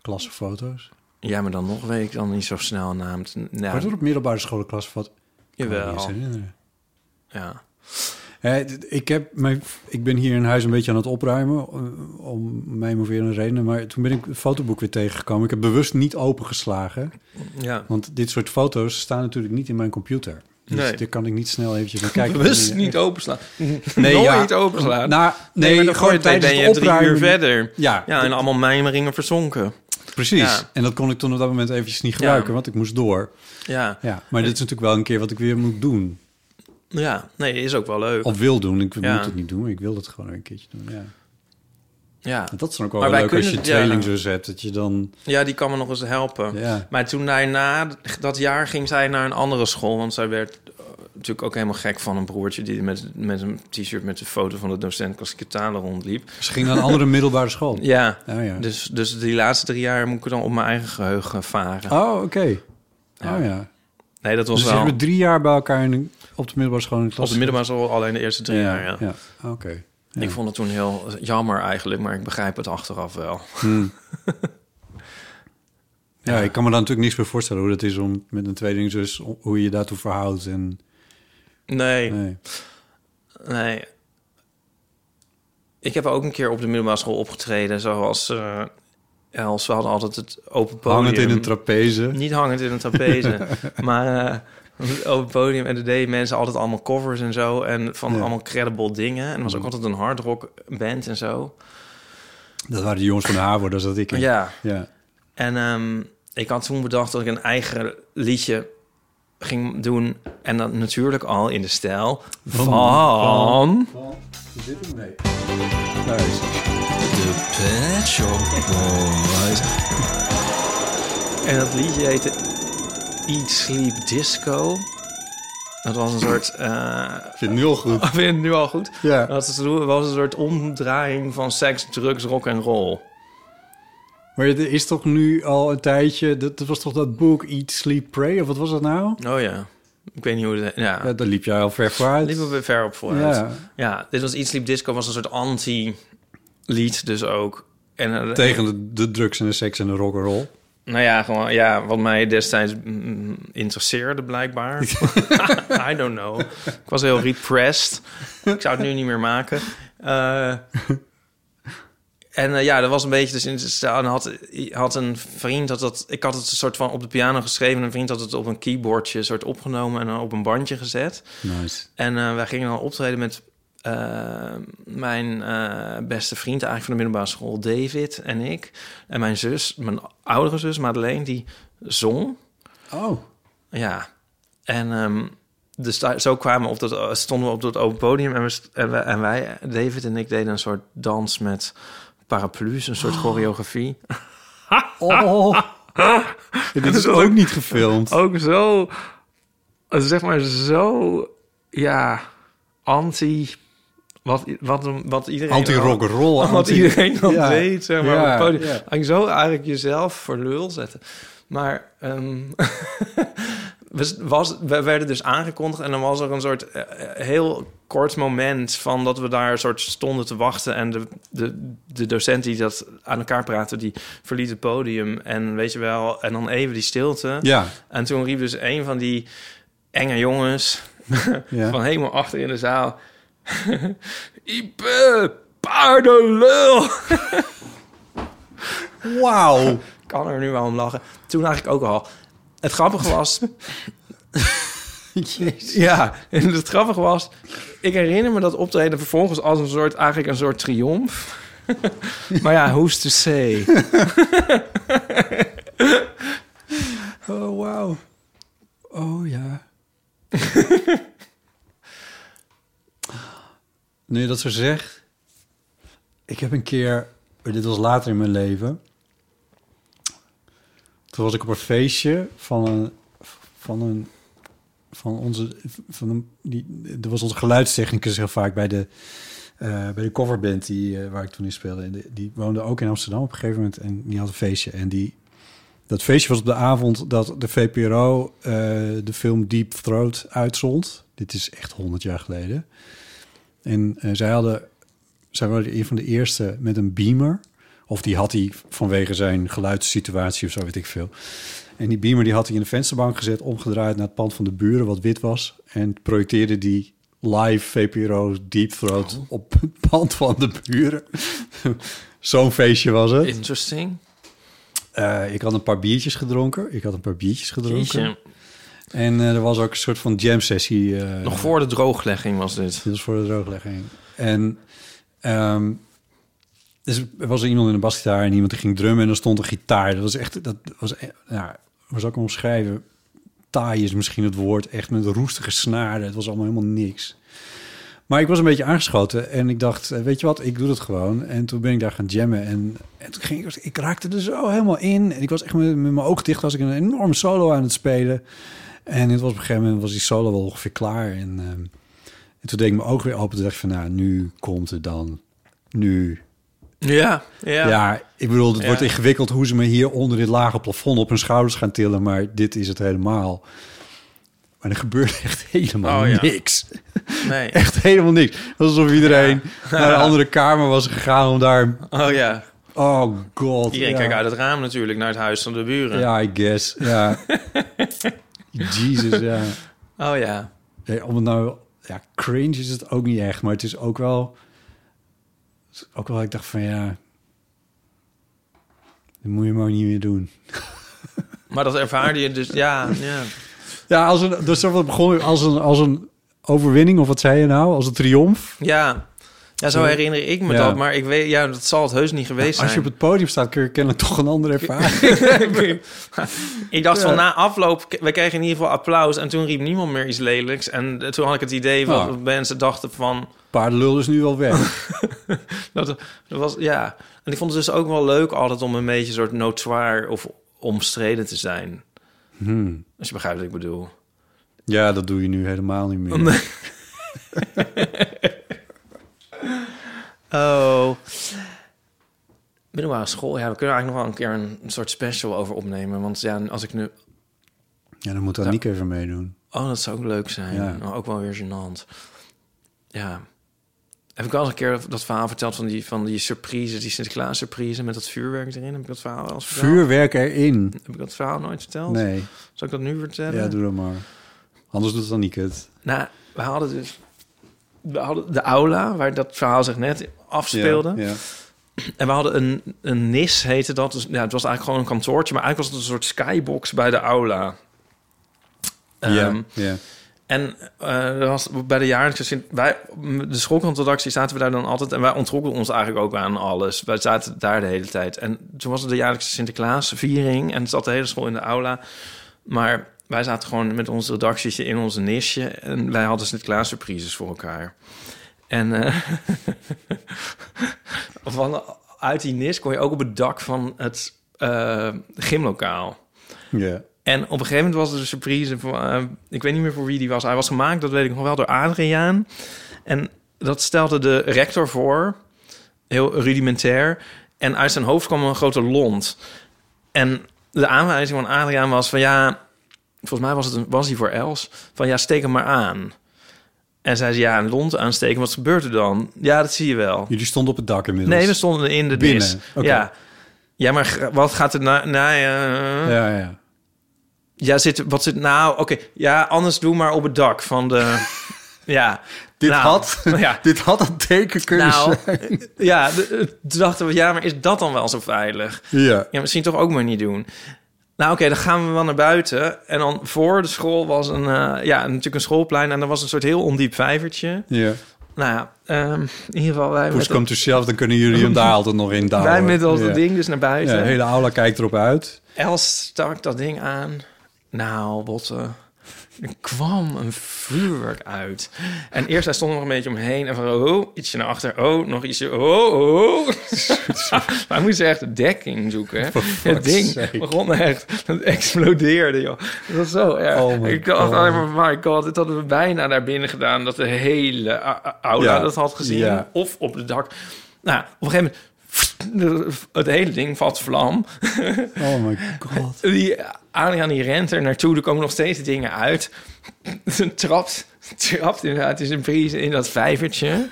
Speaker 1: Klassenfoto's.
Speaker 3: Ja, maar dan nog weet ik dan niet zo snel naam.
Speaker 1: Ja.
Speaker 3: Nou,
Speaker 1: Wordt er op middelbare scholen klassenfoto? Kan me
Speaker 3: Jawel.
Speaker 1: niet eens herinneren.
Speaker 3: ja.
Speaker 1: Eh, d- ik, heb mijn, ik ben hier in huis een beetje aan het opruimen, eh, om mijn moverende redenen. Maar toen ben ik het fotoboek weer tegengekomen. Ik heb bewust niet opengeslagen.
Speaker 3: Ja.
Speaker 1: Want dit soort foto's staan natuurlijk niet in mijn computer. Dus
Speaker 3: Nee.
Speaker 1: daar kan ik niet snel eventjes naar kijken.
Speaker 3: Bewust
Speaker 1: Eh,
Speaker 3: niet openslaan. Nooit openslaan.
Speaker 1: Nou, nee,
Speaker 3: maar dan
Speaker 1: gewoon
Speaker 3: gooi je-
Speaker 1: tijdens
Speaker 3: ben je
Speaker 1: het
Speaker 3: drie uur
Speaker 1: opruimen.
Speaker 3: verder.
Speaker 1: Ja.
Speaker 3: ja, en allemaal mijmeringen verzonken.
Speaker 1: Precies.
Speaker 3: Ja.
Speaker 1: En dat kon ik toen op dat moment eventjes niet gebruiken,
Speaker 3: Ja.
Speaker 1: want ik moest door.
Speaker 3: Ja.
Speaker 1: ja. Maar dit is natuurlijk wel een keer wat ik weer moet doen.
Speaker 3: Ja, nee, is ook wel leuk.
Speaker 1: Of wil doen. Ik
Speaker 3: Ja.
Speaker 1: moet het niet doen, maar ik wil dat gewoon een keertje doen. Ja.
Speaker 3: Ja.
Speaker 1: En Dat is dan ook wel
Speaker 3: Maar wij
Speaker 1: leuk als je
Speaker 3: kunnen-
Speaker 1: een
Speaker 3: ja.
Speaker 1: tweelingzus hebt, dat je dan...
Speaker 3: Ja, die kan me nog eens helpen.
Speaker 1: Ja.
Speaker 3: Maar toen daarna, dat jaar, ging zij naar een andere school. Want zij werd eh, natuurlijk ook helemaal gek van een broertje... die met, met een t-shirt met de foto van de docent klassieke talen rondliep.
Speaker 1: Ze ging naar een andere middelbare school.
Speaker 3: Ja,
Speaker 1: Oh, ja.
Speaker 3: Dus, dus die laatste drie jaar moet ik dan op mijn eigen geheugen varen.
Speaker 1: Oh, oké. Oh ja.
Speaker 3: Nee, dat was
Speaker 1: dus
Speaker 3: wel
Speaker 1: we drie jaar bij elkaar in, op de middelbare school in de klas.
Speaker 3: op de middelbare school alleen de eerste drie
Speaker 1: Ja,
Speaker 3: jaar. Ja.
Speaker 1: ja. Ah, Oké. Ja.
Speaker 3: Ik vond het toen heel jammer eigenlijk, maar ik begrijp het achteraf wel.
Speaker 1: Hmm. Ja, ik kan me daar natuurlijk niks meer voorstellen hoe dat is om met een tweelingzus, hoe je je daartoe verhoudt. En,
Speaker 3: Nee.
Speaker 1: Nee.
Speaker 3: Nee. Ik heb ook een keer op de middelbare school opgetreden, zoals eh Els. We hadden altijd het open podium.
Speaker 1: Hangend in een trapeze.
Speaker 3: Niet hangend in een trapeze, maar eh, het open podium. En de deden mensen altijd allemaal covers en zo. En van
Speaker 1: Ja.
Speaker 3: allemaal credible dingen. En er was ook altijd een hard rock band en zo.
Speaker 1: dat waren de jongens van de Havo, daar zat ik in.
Speaker 3: Ja.
Speaker 1: ja.
Speaker 3: En ehm, ik had toen bedacht dat ik een eigen liedje ging doen. En dat natuurlijk al in de stijl van...
Speaker 1: van- Is dit hem? Nee.
Speaker 3: De Pet Shop Boys. En dat liedje heette Eat Sleep Disco. Dat was een soort... eh
Speaker 1: vind het nu al goed.
Speaker 3: vind je het nu al goed?
Speaker 1: Ja.
Speaker 3: Dat was- was een soort omdraaiing van seks, drugs, rock en roll.
Speaker 1: Maar er is toch nu al een tijdje, dat, dat was toch dat boek Eat, Sleep, Pray, of wat was dat nou?
Speaker 3: Oh ja. Ik weet niet hoe het... Ja.
Speaker 1: Ja, daar liep jij al ver vooruit.
Speaker 3: Liepen we ver op vooruit.
Speaker 1: Ja.
Speaker 3: Ja, dit was Eat Sleep Disco, was een soort anti-lied dus ook. En, eh,
Speaker 1: Tegen de, de drugs en de seks en de rock'n'roll.
Speaker 3: Nou ja, gewoon, ja, wat mij destijds mm, interesseerde blijkbaar. I don't know. Ik was heel repressed. Ik zou het nu niet meer maken. Eh, en eh, ja, dat was een beetje dus in de stijl. En had, had een vriend dat dat... Ik had het een soort van op de piano geschreven. en Een vriend had het op een keyboardje soort opgenomen en dan op een bandje gezet.
Speaker 1: Nice.
Speaker 3: En eh, wij gingen dan optreden met eh, mijn eh, beste vriend eigenlijk van de middelbare school, David en ik. En mijn zus, mijn oudere zus Madeleine, die zong.
Speaker 1: Oh.
Speaker 3: Ja. En ehm, dus daar- zo kwamen we op dat, stonden we op dat open podium en, we, st- en, wij, en wij, David en ik, deden een soort dans met paraplu's, een soort choreografie.
Speaker 1: Oh. Dit is ook niet gefilmd.
Speaker 3: Ook zo, eh, zeg maar zo, ja, anti. Wat, wat, wat iedereen.
Speaker 1: Anti-rock'n'roll,
Speaker 3: Wat
Speaker 1: anti-
Speaker 3: iedereen dan
Speaker 1: Ja,
Speaker 3: deed, zeg maar.
Speaker 1: ja,
Speaker 3: op het podium.
Speaker 1: ja.
Speaker 3: En zo eigenlijk jezelf voor lul zetten. Maar. ehm, we, was, we werden dus aangekondigd en dan was er een soort eh, heel kort moment van dat we daar een soort stonden te wachten. En de, de, de docent die dat aan elkaar praatte, die verliet het podium. En weet je wel, en dan even die stilte.
Speaker 1: Ja.
Speaker 3: En toen riep dus een van die enge jongens
Speaker 1: Ja.
Speaker 3: van helemaal achter in de zaal. Ipe, paardenlul!
Speaker 1: Wauw.
Speaker 3: kan er nu wel om lachen. Toen eigenlijk ook al. Het grappige was... Ja, en het grappige was... Ik herinner me dat optreden vervolgens als een soort... Eigenlijk een soort triomf. maar ja, who's to say?
Speaker 1: Oh, wauw. Oh, ja. nu je dat zo zegt... Ik heb een keer... Dit was later in mijn leven. Toen was ik op een feestje van een... Van een van onze, van een, die, er was onze geluidstechnicus heel vaak bij de, eh, bij de coverband die, eh, waar ik toen in speelde. En die, die woonde ook in Amsterdam op een gegeven moment en die had een feestje. En die, dat feestje was op de avond dat de VPRO eh, de film Deep Throat uitzond. Dit is echt honderd jaar geleden. En eh, zij hadden, zij waren een van de eerste met een beamer. Of die had hij vanwege zijn geluidssituatie of zo, weet ik veel. En die beamer die had hij in de vensterbank gezet, omgedraaid naar het pand van de buren, wat wit was. En projecteerde die live VPRO Deep Throat
Speaker 3: Oh.
Speaker 1: op het pand van de buren. Zo'n feestje was het.
Speaker 3: Interesting.
Speaker 1: Eh, ik had een paar biertjes gedronken. Ik had een paar biertjes gedronken.
Speaker 3: Jeetje.
Speaker 1: En eh, er was ook een soort van jam sessie. eh,
Speaker 3: Nog voor de drooglegging was dit.
Speaker 1: Dit was voor de drooglegging. En ehm, dus er was iemand in een basgitaar en iemand die ging drummen en er stond een gitaar. Dat was echt, dat was, e- nou, hoe zou ik hem omschrijven? Taai is misschien het woord, echt met roestige snaren. Het was allemaal helemaal niks. Maar ik was een beetje aangeschoten en ik dacht, eh, weet je wat, ik doe dat gewoon. En toen ben ik daar gaan jammen en, en toen ging ik, ik raakte er zo helemaal in. En ik was echt met, met mijn oog dicht, was ik een enorme solo aan het spelen. En het was op een gegeven moment was die solo wel ongeveer klaar. En, ehm, en toen deed ik mijn oog weer open en dacht ik van, nou, nu komt het dan. Nu.
Speaker 3: Ja, ja.
Speaker 1: ik bedoel, het
Speaker 3: Ja.
Speaker 1: wordt ingewikkeld hoe ze me hier onder dit lage plafond op hun schouders gaan tillen. Maar dit is het helemaal. Maar er gebeurde echt helemaal
Speaker 3: Oh, ja.
Speaker 1: niks.
Speaker 3: Nee.
Speaker 1: Echt helemaal niks. Het was Alsof iedereen naar een andere kamer was gegaan om daar...
Speaker 3: Oh ja.
Speaker 1: Oh god.
Speaker 3: Iedereen
Speaker 1: ja.
Speaker 3: kijkt uit het raam natuurlijk naar het huis van de buren.
Speaker 1: Ja, I guess. Ja. Jesus, ja.
Speaker 3: Oh ja.
Speaker 1: Ja, om het nou... Ja, cringe is het ook niet echt, maar het is ook wel... het is Ook wel, ik dacht van ja... Dat moet je maar niet meer doen.
Speaker 3: Maar dat ervaarde je dus, ja. ja.
Speaker 1: Ja, als een, dus dat begon als een, als een overwinning, of wat zei je nou? Als een triomf.
Speaker 3: Ja, ja zo herinner ik me
Speaker 1: Ja.
Speaker 3: dat. Maar ik weet, ja, dat zal het heus niet geweest
Speaker 1: Als je
Speaker 3: zijn.
Speaker 1: op het podium staat, kun je kennelijk toch een andere ervaring.
Speaker 3: ik dacht
Speaker 1: Ja.
Speaker 3: van nou, na afloop, k- we kregen in ieder geval applaus. En toen riep niemand meer iets lelijks. En eh, toen had ik het idee van
Speaker 1: Oh.
Speaker 3: mensen dachten van...
Speaker 1: Paardenlul is nu wel weg.
Speaker 3: Dat, dat was, ja. En ik vond het dus ook wel leuk altijd om een beetje een soort notoire of omstreden te zijn.
Speaker 1: Hmm.
Speaker 3: Als je begrijpt wat ik bedoel.
Speaker 1: Ja, dat doe je nu helemaal niet meer.
Speaker 3: Oh. Middelbare school, ja, we kunnen er eigenlijk nog wel een keer een, een soort special over opnemen. Want ja, als ik nu...
Speaker 1: Ja, dan moet Aniek even meedoen.
Speaker 3: Oh, dat zou ook leuk zijn.
Speaker 1: Ja.
Speaker 3: Maar ook wel weer gênant. Ja. Heb ik wel eens een keer dat verhaal verteld van die, van die surprise, die Sinterklaas surprise met dat vuurwerk erin? Heb ik dat verhaal wel eens verteld?
Speaker 1: Vuurwerk erin.
Speaker 3: Heb ik dat verhaal nooit verteld?
Speaker 1: Nee.
Speaker 3: Zal ik dat nu vertellen?
Speaker 1: Ja, doe dat maar. Anders doet Aniek het.
Speaker 3: Nou, we hadden dus... We hadden de aula, waar dat verhaal zich net afspeelde.
Speaker 1: Ja, ja.
Speaker 3: En we hadden een, een NIS, heette dat. Dus, ja, het was eigenlijk gewoon een kantoortje, maar eigenlijk was het een soort skybox bij de aula. Ehm,
Speaker 1: ja, ja.
Speaker 3: En eh, er was bij de jaarlijkse Sint... Wij, de schoolkantredactie zaten we daar dan altijd... en wij ontrokken ons eigenlijk ook aan alles. Wij zaten daar de hele tijd. En toen was het de jaarlijkse Sinterklaasviering... en zat de hele school in de aula. Maar wij zaten gewoon met ons redactietje in onze nisje... en wij hadden Sinterklaas surprises voor elkaar. En eh, van, uit die nis kon je ook op het dak van het eh, gymlokaal...
Speaker 1: Ja.
Speaker 3: En op een gegeven moment was er een surprise. Voor, eh, ik weet niet meer voor wie die was. Hij was gemaakt, dat weet ik nog wel, door Adriaan. En dat stelde de rector voor. Heel rudimentair. En uit zijn hoofd kwam een grote lont. En de aanwijzing van Adriaan was van... ja, volgens mij was het een was hij voor Els, van ja, steek hem maar aan. En zij zei, ja, een lont aansteken, wat gebeurt er dan? Ja, dat zie je wel.
Speaker 1: Jullie stonden op het dak inmiddels.
Speaker 3: Nee, we stonden in de
Speaker 1: Binnen,
Speaker 3: dis.
Speaker 1: oké.
Speaker 3: Ja. ja, maar g- wat gaat er na... na eh,
Speaker 1: Ja, ja.
Speaker 3: Ja, zit, wat zit nou? Oké, ja, anders doe maar op het dak van de. ja.
Speaker 1: Dit,
Speaker 3: nou,
Speaker 1: had,
Speaker 3: Ja.
Speaker 1: dit had een teken kunnen
Speaker 3: Nou,
Speaker 1: zijn.
Speaker 3: ja, de- eh, toen dachten we, ja, maar is dat dan wel zo veilig?
Speaker 1: Ja.
Speaker 3: Ja, misschien toch ook maar niet doen. Nou oké, dan gaan we wel naar buiten. En dan voor de school was een, eh, ja, natuurlijk een schoolplein. En er was een soort heel ondiep vijvertje.
Speaker 1: Ja.
Speaker 3: Nou ja, ehm, in ieder geval wij
Speaker 1: Poes
Speaker 3: met,
Speaker 1: komt er zelf, dan kunnen jullie hem daar altijd nog in duwen.
Speaker 3: wij met ons
Speaker 1: Ja.
Speaker 3: ding dus naar buiten.
Speaker 1: Ja, de hele aula kijkt erop uit.
Speaker 3: Els stak dat ding aan. Nou, botten. Er kwam een vuurwerk uit. En eerst hij stond er nog een beetje omheen. En van, oh, ietsje naar achter. Oh, nog ietsje. Oh, oh. maar moest echt dekking zoeken. hè. Het ding
Speaker 1: sake.
Speaker 3: begon echt... Het explodeerde, joh. Dat was zo erg.
Speaker 1: Oh my
Speaker 3: ik dacht,
Speaker 1: God.
Speaker 3: oh my god. Dit hadden we bijna naar binnen gedaan. Dat de hele a- a- aula
Speaker 1: Ja.
Speaker 3: oh, nou, dat had gezien.
Speaker 1: Ja.
Speaker 3: Of op het dak. Nou, op een gegeven moment... Het hele ding valt vlam.
Speaker 1: Oh my god.
Speaker 3: Die Adriaan die rent er naartoe, er komen nog steeds dingen uit. Ze trapt, trapt inderdaad in zijn pries in dat vijvertje.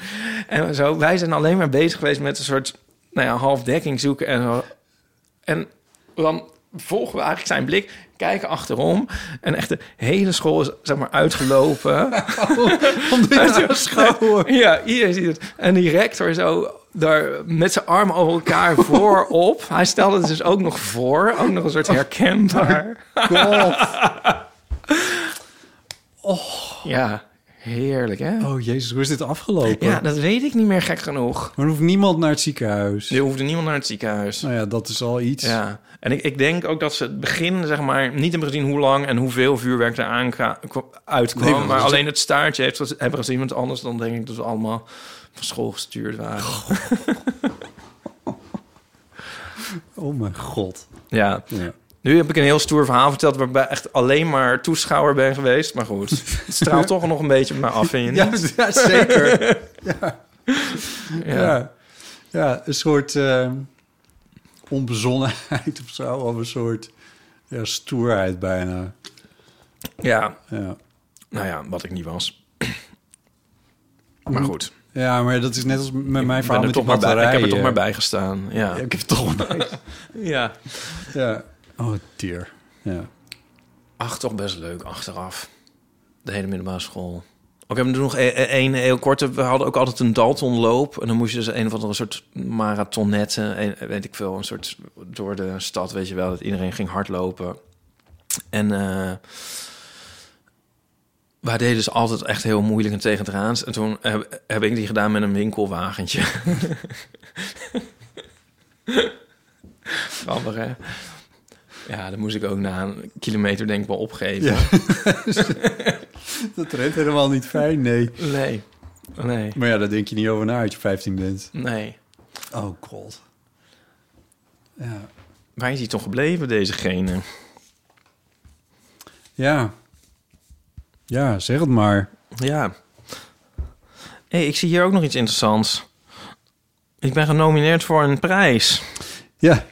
Speaker 3: En zo, wij zijn alleen maar bezig geweest met een soort nou ja, halfdekking zoeken. En, zo. en dan volgen we eigenlijk zijn blik, kijken achterom. En echt de hele school is zeg maar uitgelopen.
Speaker 1: Om dit te
Speaker 3: Ja, iedereen ziet het. En die rector zo daar met zijn armen over elkaar voorop. Hij stelde het dus ook nog voor. Ook nog een soort herkenbaar. Ja, heerlijk hè?
Speaker 1: Oh jezus, hoe is dit afgelopen?
Speaker 3: Ja, dat weet ik niet meer gek genoeg.
Speaker 1: Maar er hoeft niemand naar het ziekenhuis.
Speaker 3: Er hoefde niemand naar het ziekenhuis.
Speaker 1: Nou ja, dat is al iets.
Speaker 3: Ja, en ik, ik denk ook dat ze het begin, zeg maar, niet hebben gezien hoe lang en hoeveel vuurwerk er aanka- kwa- uitkwam.
Speaker 1: Nee, want
Speaker 3: maar
Speaker 1: het is-
Speaker 3: alleen het staartje heeft, hebben gezien, want anders dan denk ik dat we allemaal van school gestuurd waren.
Speaker 1: Oh mijn god.
Speaker 3: Ja. Nu heb ik een heel stoer verhaal verteld waarbij ik echt alleen maar toeschouwer ben geweest. Maar goed, het straalt toch nog een beetje op me af, vind je
Speaker 1: Ja,
Speaker 3: niet?
Speaker 1: ja, zeker. ja.
Speaker 3: Ja.
Speaker 1: Ja. ja. een soort eh, onbezonnenheid of zo. Of een soort ja, stoerheid bijna.
Speaker 3: Ja.
Speaker 1: Ja.
Speaker 3: Nou ja, wat ik niet was. Maar goed.
Speaker 1: Mm-hmm. Ja, maar dat is net als met mijn
Speaker 3: Ik, ben
Speaker 1: verhaal
Speaker 3: er
Speaker 1: met
Speaker 3: toch
Speaker 1: die
Speaker 3: maar bij, ik heb er
Speaker 1: batterijen.
Speaker 3: toch maar bij gestaan. Ja.
Speaker 1: Ik heb er toch maar bij.
Speaker 3: ja.
Speaker 1: ja. Oh, dear. Ja.
Speaker 3: Ach, toch best leuk achteraf. De hele middelbare school. Ook hebben we nog e- e- één heel korte. We hadden ook altijd een Daltonloop. En dan moest je dus een of andere soort marathonnetten. Een, weet ik veel. Een soort door de stad, weet je wel. Dat iedereen ging hardlopen. En eh wij deden dus altijd echt heel moeilijk en tegen het raans. En toen heb, heb ik die gedaan met een winkelwagentje. Grappig, hè? Ja, dan moest ik ook na een kilometer denk ik wel opgeven.
Speaker 1: dat rent helemaal niet fijn, nee.
Speaker 3: Nee. Nee.
Speaker 1: Maar ja, daar denk je niet over na als je 15 bent.
Speaker 3: Nee.
Speaker 1: Oh god. Ja.
Speaker 3: Waar is hij toch gebleven, dezegene?
Speaker 1: Ja. Ja, zeg het maar.
Speaker 3: Ja. Hé, ik zie hier ook nog iets interessants. Ik ben genomineerd voor een prijs.
Speaker 1: Ja.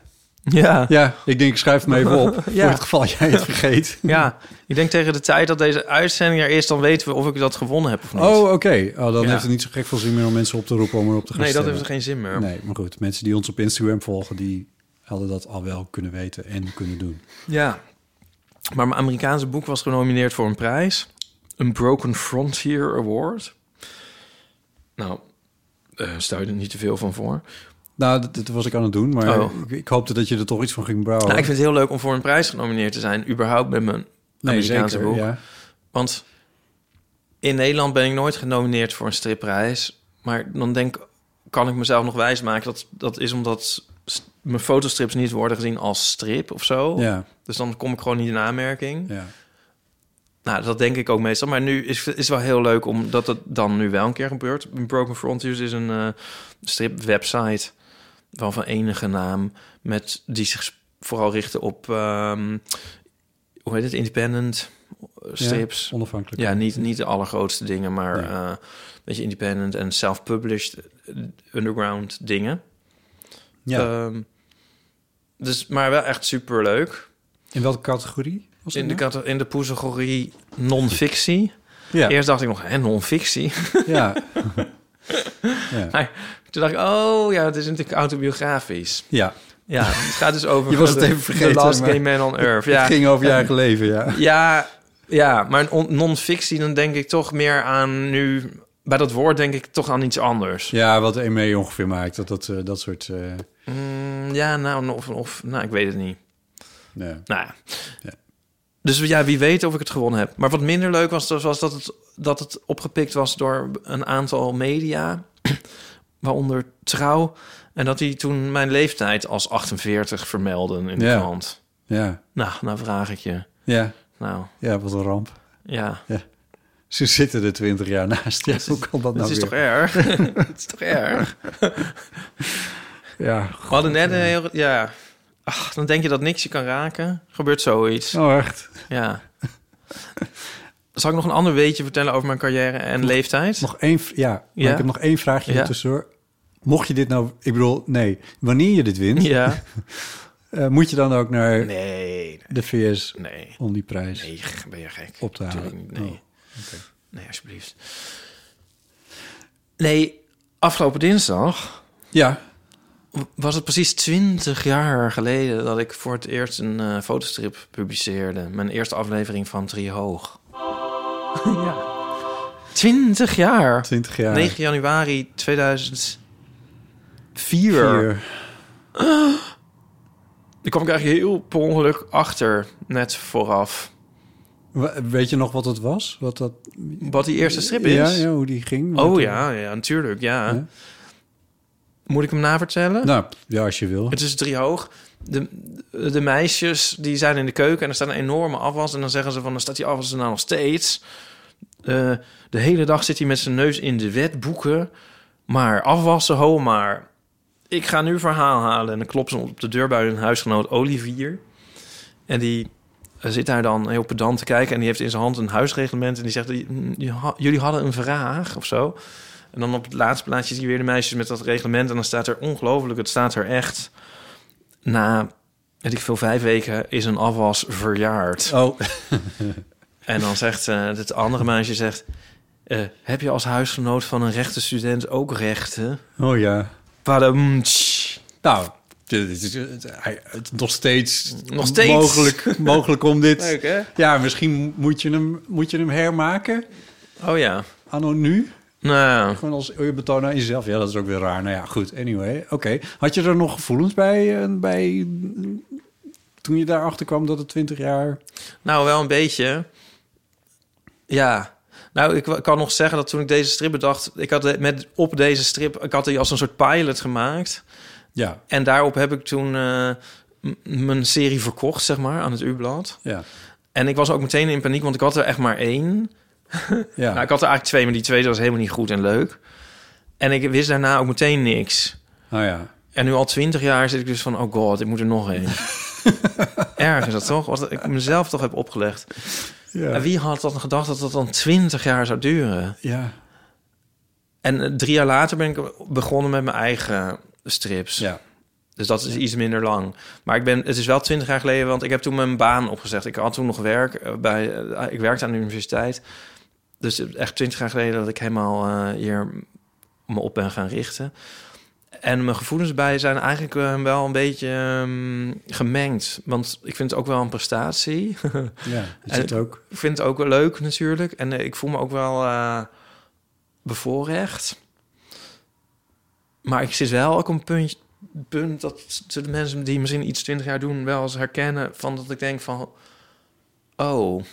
Speaker 3: Ja.
Speaker 1: Ja, ik denk ik schrijf hem even op. Voor het geval jij het vergeet.
Speaker 3: Ja, ik denk tegen de tijd dat deze uitzending er is... dan weten we of ik dat gewonnen heb of niet.
Speaker 1: Oh, oké. Oh, dan
Speaker 3: Ja.
Speaker 1: heeft het niet zo gek veel zin meer om mensen op te roepen om erop te gaan
Speaker 3: Nee, dat
Speaker 1: stemmen.
Speaker 3: heeft geen zin meer.
Speaker 1: Nee, maar goed. Mensen die ons op Instagram volgen, die hadden dat al wel kunnen weten en kunnen doen.
Speaker 3: Ja. Maar mijn Amerikaanse boek was genomineerd voor een prijs. Een Broken Frontier Award. Nou, eh stel je er niet te veel van voor.
Speaker 1: Nou, dat, dat was ik aan het doen, maar
Speaker 3: Oh.
Speaker 1: ik, ik hoopte dat je er toch iets van ging brouwen.
Speaker 3: Nou, ik vind het heel leuk om voor een prijs genomineerd te zijn. Überhaupt met mijn
Speaker 1: Nee,
Speaker 3: Amerikaanse
Speaker 1: zeker,
Speaker 3: boek.
Speaker 1: ja.
Speaker 3: Want in Nederland ben ik nooit genomineerd voor een stripprijs. Maar dan denk ik, kan ik mezelf nog wijsmaken. Dat, dat is omdat st- mijn fotostrips niet worden gezien als strip of zo.
Speaker 1: Ja.
Speaker 3: Dus dan kom ik gewoon niet in aanmerking.
Speaker 1: Ja.
Speaker 3: Nou, dat denk ik ook meestal. Maar nu is het wel heel leuk omdat het dan nu wel een keer gebeurt. Broken Frontiers is een eh stripwebsite wel van enige naam met die zich vooral richten op ehm, hoe heet het independent eh, strips,
Speaker 1: Ja, onafhankelijk.
Speaker 3: Ja, niet niet de allergrootste dingen, maar eh een beetje independent en self-published eh, underground dingen.
Speaker 1: Ja.
Speaker 3: Ehm, dus maar wel echt super leuk.
Speaker 1: In welke categorie? Was
Speaker 3: in, de,
Speaker 1: het nou?
Speaker 3: cate- in de categorie non-fictie.
Speaker 1: Ja.
Speaker 3: Eerst dacht ik nog, hè, non-fictie?
Speaker 1: Ja.
Speaker 3: Ja. Maar toen dacht ik, oh ja, het is natuurlijk autobiografisch.
Speaker 1: Ja.
Speaker 3: Ja, het gaat dus over...
Speaker 1: Je was het
Speaker 3: de-
Speaker 1: even vergeten,
Speaker 3: The Last
Speaker 1: maar
Speaker 3: Gay Man on Earth.
Speaker 1: het
Speaker 3: Ja.
Speaker 1: ging over je
Speaker 3: En-
Speaker 1: eigen leven, ja.
Speaker 3: Ja, ja maar on- non-fictie, dan denk ik toch meer aan nu... Bij dat woord denk ik toch aan iets anders.
Speaker 1: Ja, wat EME ongeveer maakt. Dat, dat, eh, dat soort... eh,
Speaker 3: Mm, ja, nou, of, of... Nou, ik weet het niet.
Speaker 1: Nee.
Speaker 3: Nou ja. Dus ja, wie weet of ik het gewonnen heb. Maar wat minder leuk was, dus was dat, het, dat het opgepikt was door een aantal media, waaronder Trouw. En dat die toen mijn leeftijd als 48 vermelden in de
Speaker 1: Ja.
Speaker 3: krant.
Speaker 1: Ja.
Speaker 3: Nou, nou vraag ik je.
Speaker 1: ja.
Speaker 3: Nou,
Speaker 1: ja, wat een ramp.
Speaker 3: ja.
Speaker 1: Ze zitten er twintig jaar naast. Ja, hoe kan dat
Speaker 3: Het
Speaker 1: nou
Speaker 3: is
Speaker 1: weer?
Speaker 3: toch erg? Het is toch erg?
Speaker 1: Ja,
Speaker 3: We hadden net een heel... Ja. Ach, dan denk je dat niks je kan raken. Gebeurt zoiets.
Speaker 1: Oh, echt?
Speaker 3: Ja. Zal ik nog een ander weetje vertellen over mijn carrière en leeftijd?
Speaker 1: Nog één, v- ja, maar
Speaker 3: Ja.
Speaker 1: ik heb nog één vraagje
Speaker 3: Ja.
Speaker 1: tussendoor. Mocht je dit nou, ik bedoel, nee, wanneer je dit wint,
Speaker 3: Ja.
Speaker 1: eh, moet je dan ook naar
Speaker 3: Nee.
Speaker 1: de VS
Speaker 3: Nee.
Speaker 1: om die prijs
Speaker 3: Nee, ben je gek.
Speaker 1: op te
Speaker 3: Tuurlijk
Speaker 1: halen?
Speaker 3: niet, nee.
Speaker 1: Oh, oké.
Speaker 3: Nee, alsjeblieft. Nee, afgelopen dinsdag...
Speaker 1: Ja.
Speaker 3: Was het precies twintig jaar geleden dat ik voor het eerst een eh, fotostrip publiceerde. Mijn eerste aflevering van Driehoog. ja. Twintig jaar.
Speaker 1: 20 jaar.
Speaker 3: 9 januari 2004.
Speaker 1: Vier.
Speaker 3: Ah. Daar kwam ik eigenlijk heel per ongeluk achter, net vooraf.
Speaker 1: Wa- Weet je nog wat het was? Wat, dat...
Speaker 3: Wat die eerste strip
Speaker 1: Ja,
Speaker 3: is?
Speaker 1: ja, hoe die ging.
Speaker 3: Oh
Speaker 1: Wat-
Speaker 3: ja, ja, natuurlijk, ja. Moet ik hem navertellen?
Speaker 1: Nou, ja, als je wil.
Speaker 3: Het is drie hoog. De, de meisjes die zijn in de keuken en er staat een enorme afwas. En dan zeggen ze van, dan staat die afwas er nou nog steeds. Eh, de hele dag zit hij met zijn neus in de wetboeken. Maar afwassen, ho maar. Ik ga nu verhaal halen. En dan klopt ze op de deur bij hun huisgenoot Olivier. En die eh, zit daar dan heel pedant te kijken. En die heeft in zijn hand een huisreglement. En die zegt, "Mm, je ha- jullie hadden een vraag of zo. En dan op het laatste plaatje zie je weer de meisjes met dat reglement. En dan staat er ongelooflijk, het staat er echt... Na, weet ik veel, vijf weken is een afwas verjaard.
Speaker 1: Oh.
Speaker 3: en dan zegt eh, het andere meisje, zegt... eh, heb je als huisgenoot van een rechtenstudent ook rechten?
Speaker 1: Oh ja.
Speaker 3: mm, Nou,
Speaker 1: dit is, het- hij- het- nog steeds,
Speaker 3: Nog steeds.
Speaker 1: Mogelijk, mogelijk om dit.
Speaker 3: Leuk, hè?
Speaker 1: Ja, misschien moet je hem, moet je hem hermaken.
Speaker 3: Oh ja.
Speaker 1: Anno nu?
Speaker 3: Nou.
Speaker 1: Gewoon als eerbetoon aan jezelf. Ja, dat is ook weer raar. Nou ja, goed. Anyway, oké. Had je er nog gevoelens bij, eh, bij toen je daarachter kwam dat het 20 jaar...
Speaker 3: Nou, wel een beetje. Ja. Nou, ik wa- kan nog zeggen dat toen ik deze strip bedacht... Ik had de- met, op deze strip... Ik had die als een soort pilot gemaakt.
Speaker 1: Ja.
Speaker 3: En daarop heb ik toen eh, m- mijn serie verkocht, zeg maar, aan het U-blad.
Speaker 1: Ja.
Speaker 3: En ik was ook meteen in paniek, want ik had er echt maar één.
Speaker 1: Ja.
Speaker 3: nou, ik had er eigenlijk twee, maar die tweede was helemaal niet goed en leuk. En ik wist daarna ook meteen niks.
Speaker 1: Oh ja.
Speaker 3: En nu al twintig jaar zit ik dus van... oh god, ik moet er nog één. Erg is dat toch? Wat ik mezelf toch heb opgelegd.
Speaker 1: Ja.
Speaker 3: En wie had dan gedacht dat dat dan twintig jaar zou duren?
Speaker 1: Ja.
Speaker 3: En eh, drie jaar later ben ik begonnen met mijn eigen strips.
Speaker 1: Ja.
Speaker 3: Dus dat is iets minder lang. Maar ik ben, het is wel twintig jaar geleden, want ik heb toen mijn baan opgezegd. Ik had toen nog werk. eh, Bij, eh, ik werkte aan de universiteit. Dus het is echt twintig jaar geleden dat ik helemaal eh, hier me op ben gaan richten. En mijn gevoelens bij zijn eigenlijk eh, wel een beetje ehm, gemengd. Want ik vind het ook wel een prestatie.
Speaker 1: Ja, dat
Speaker 3: En
Speaker 1: zit ook.
Speaker 3: Ik vind het ook wel leuk natuurlijk. En eh, ik voel me ook wel eh, bevoorrecht. Maar ik zit wel ook op een puntje, punt dat de mensen die misschien iets 20 jaar doen... wel eens herkennen van dat ik denk van... Oh.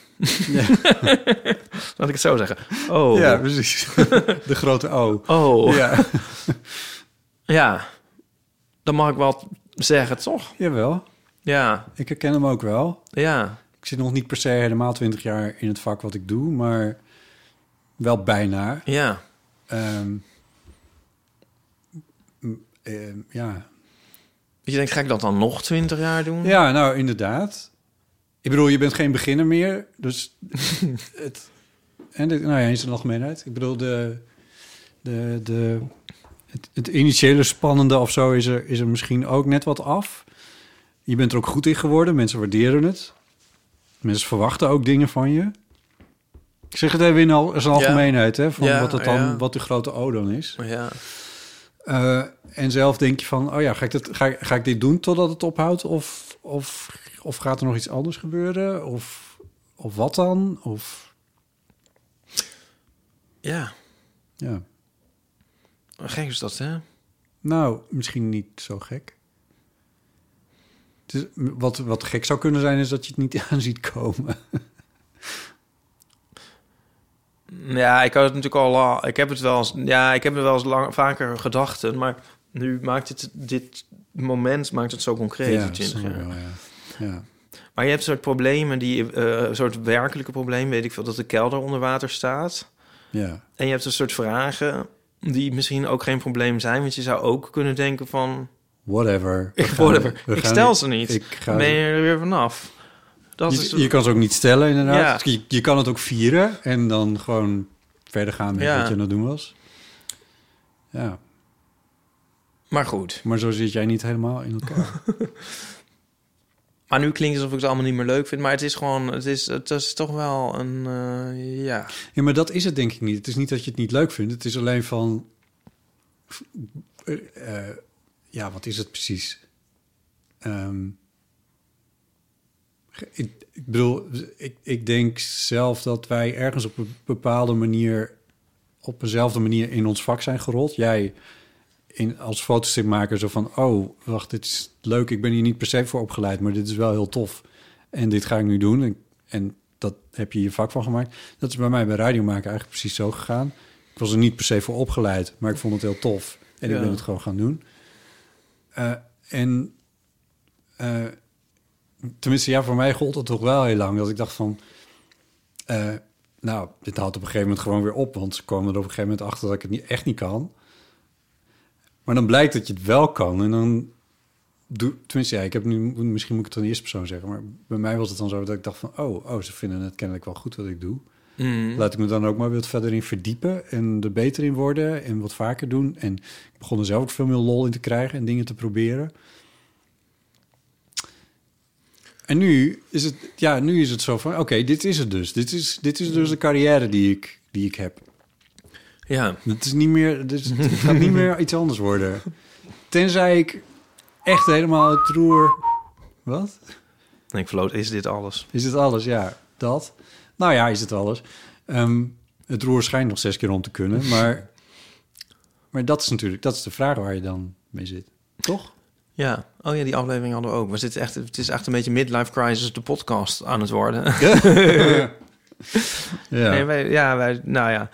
Speaker 3: Laat ik het zo zeggen. Oh.
Speaker 1: Ja, precies. De grote O.
Speaker 3: Oh.
Speaker 1: Ja.
Speaker 3: ja. Dan mag ik wel zeggen, toch?
Speaker 1: Jawel.
Speaker 3: Ja.
Speaker 1: Ik herken hem ook wel.
Speaker 3: Ja.
Speaker 1: Ik zit nog niet per se helemaal 20 jaar in het vak wat ik doe, maar wel bijna.
Speaker 3: Ja.
Speaker 1: Ehm, m- ehm, ja.
Speaker 3: Je denkt, ga ik dat dan nog 20 jaar doen?
Speaker 1: ja, nou inderdaad. Ik bedoel, je bent geen beginner meer, dus het. En dit, nou ja, in zijn algemeenheid. Ik bedoel, de, de, de, het, het initiële spannende of zo is er, is er misschien ook net wat af. Je bent er ook goed in geworden, mensen waarderen het. Mensen verwachten ook dingen van je. Ik zeg het even in al, zijn algemeenheid, hè, van
Speaker 3: Ja,
Speaker 1: wat, het dan,
Speaker 3: ja.
Speaker 1: wat de grote O dan is.
Speaker 3: Ja.
Speaker 1: Eh, en zelf denk je van, oh ja, ga ik, dit, ga, ik- ga ik dit doen totdat het ophoudt? Of, of, of gaat er nog iets anders gebeuren? Of, of wat dan? Of,
Speaker 3: Ja,
Speaker 1: ja.
Speaker 3: gek is dat, hè?
Speaker 1: Nou, misschien niet zo gek. Het is- wat, wat gek zou kunnen zijn, is dat je het niet aan ziet komen.
Speaker 3: Ja, ik had het natuurlijk al lang. Ik heb het wel eens, ja, ik heb er wel eens lang, vaker gedachten, maar nu maakt het dit moment maakt het zo concreet.
Speaker 1: Ja,
Speaker 3: die
Speaker 1: dat
Speaker 3: 20
Speaker 1: snap ik
Speaker 3: jaar.
Speaker 1: wel, Ja.
Speaker 3: Maar je hebt soort problemen die, eh een soort werkelijke problemen, weet ik veel, dat de kelder onder water staat.
Speaker 1: Ja.
Speaker 3: En je hebt een soort vragen die misschien ook geen probleem zijn, want je zou ook kunnen denken van,
Speaker 1: Whatever. We
Speaker 3: ik,
Speaker 1: gaan-
Speaker 3: whatever,
Speaker 1: we
Speaker 3: ik
Speaker 1: gaan-
Speaker 3: stel ze niet.
Speaker 1: Ik ga,
Speaker 3: ben je er weer vanaf. Dat is,
Speaker 1: je, je kan ze ook niet stellen, inderdaad.
Speaker 3: Ja.
Speaker 1: Je, je kan het ook vieren en dan gewoon verder gaan met
Speaker 3: Ja.
Speaker 1: wat je aan het doen was. Ja.
Speaker 3: Maar goed.
Speaker 1: Maar zo zit jij niet helemaal in elkaar.
Speaker 3: Maar nu klinkt het alsof ik het allemaal niet meer leuk vind. Maar het is gewoon, het is, het is toch wel een, eh, ja.
Speaker 1: ja, maar dat is het denk ik niet. Het is niet dat je het niet leuk vindt. Het is alleen van... eh, eh, ja, wat is het precies? Ehm, ge- ik, ik bedoel, ik, ik denk zelf dat wij ergens op een bepaalde manier... op eenzelfde manier in ons vak zijn gerold. Jij in, als fotostipmaker zo van... oh, wacht, dit is leuk. Ik ben hier niet per se voor opgeleid... maar dit is wel heel tof. En dit ga ik nu doen. En, en dat heb je je vak van gemaakt. Dat is bij mij bij radiomaken eigenlijk precies zo gegaan. Ik was er niet per se voor opgeleid... maar ik vond het heel tof. En ik
Speaker 3: Ja.
Speaker 1: ben het gewoon gaan doen. Eh, en eh, tenminste, ja, voor mij gold dat toch wel heel lang. Dat ik dacht van, eh, nou, dit houdt op een gegeven moment gewoon weer op. Want ze kwamen er op een gegeven moment achter dat ik het niet, echt niet kan. Maar dan blijkt dat je het wel kan. En dan, doe, tenminste, ja, ik heb nu, misschien moet ik het aan de eerste persoon zeggen. Maar bij mij was het dan zo dat ik dacht van, oh, oh ze vinden het kennelijk wel goed wat ik doe.
Speaker 3: Mhm.
Speaker 1: Laat ik me dan ook maar wat verder in verdiepen en er beter in worden en wat vaker doen. En ik begon er zelf ook veel meer lol in te krijgen en dingen te proberen. En nu is het, ja, nu is het zo van, oké, dit is het dus. Dit is, dit is dus de carrière die ik, die ik heb.
Speaker 3: Ja.
Speaker 1: Het, is niet meer, dus het gaat niet meer iets anders worden. Tenzij ik echt helemaal het roer... Wat?
Speaker 3: En ik floot, is dit alles?
Speaker 1: Is het alles? Ja, dat. Nou ja, is het alles. Ehm, het roer schijnt nog zes keer om te kunnen, maar, maar dat is natuurlijk dat is de vraag waar je dan mee zit. Toch?
Speaker 3: Ja, oh ja, die aflevering hadden we ook. We zitten echt, het is echt een beetje midlife crisis de podcast aan het worden.
Speaker 1: Ja.
Speaker 3: Nee, wij, ja, wij, nou ja.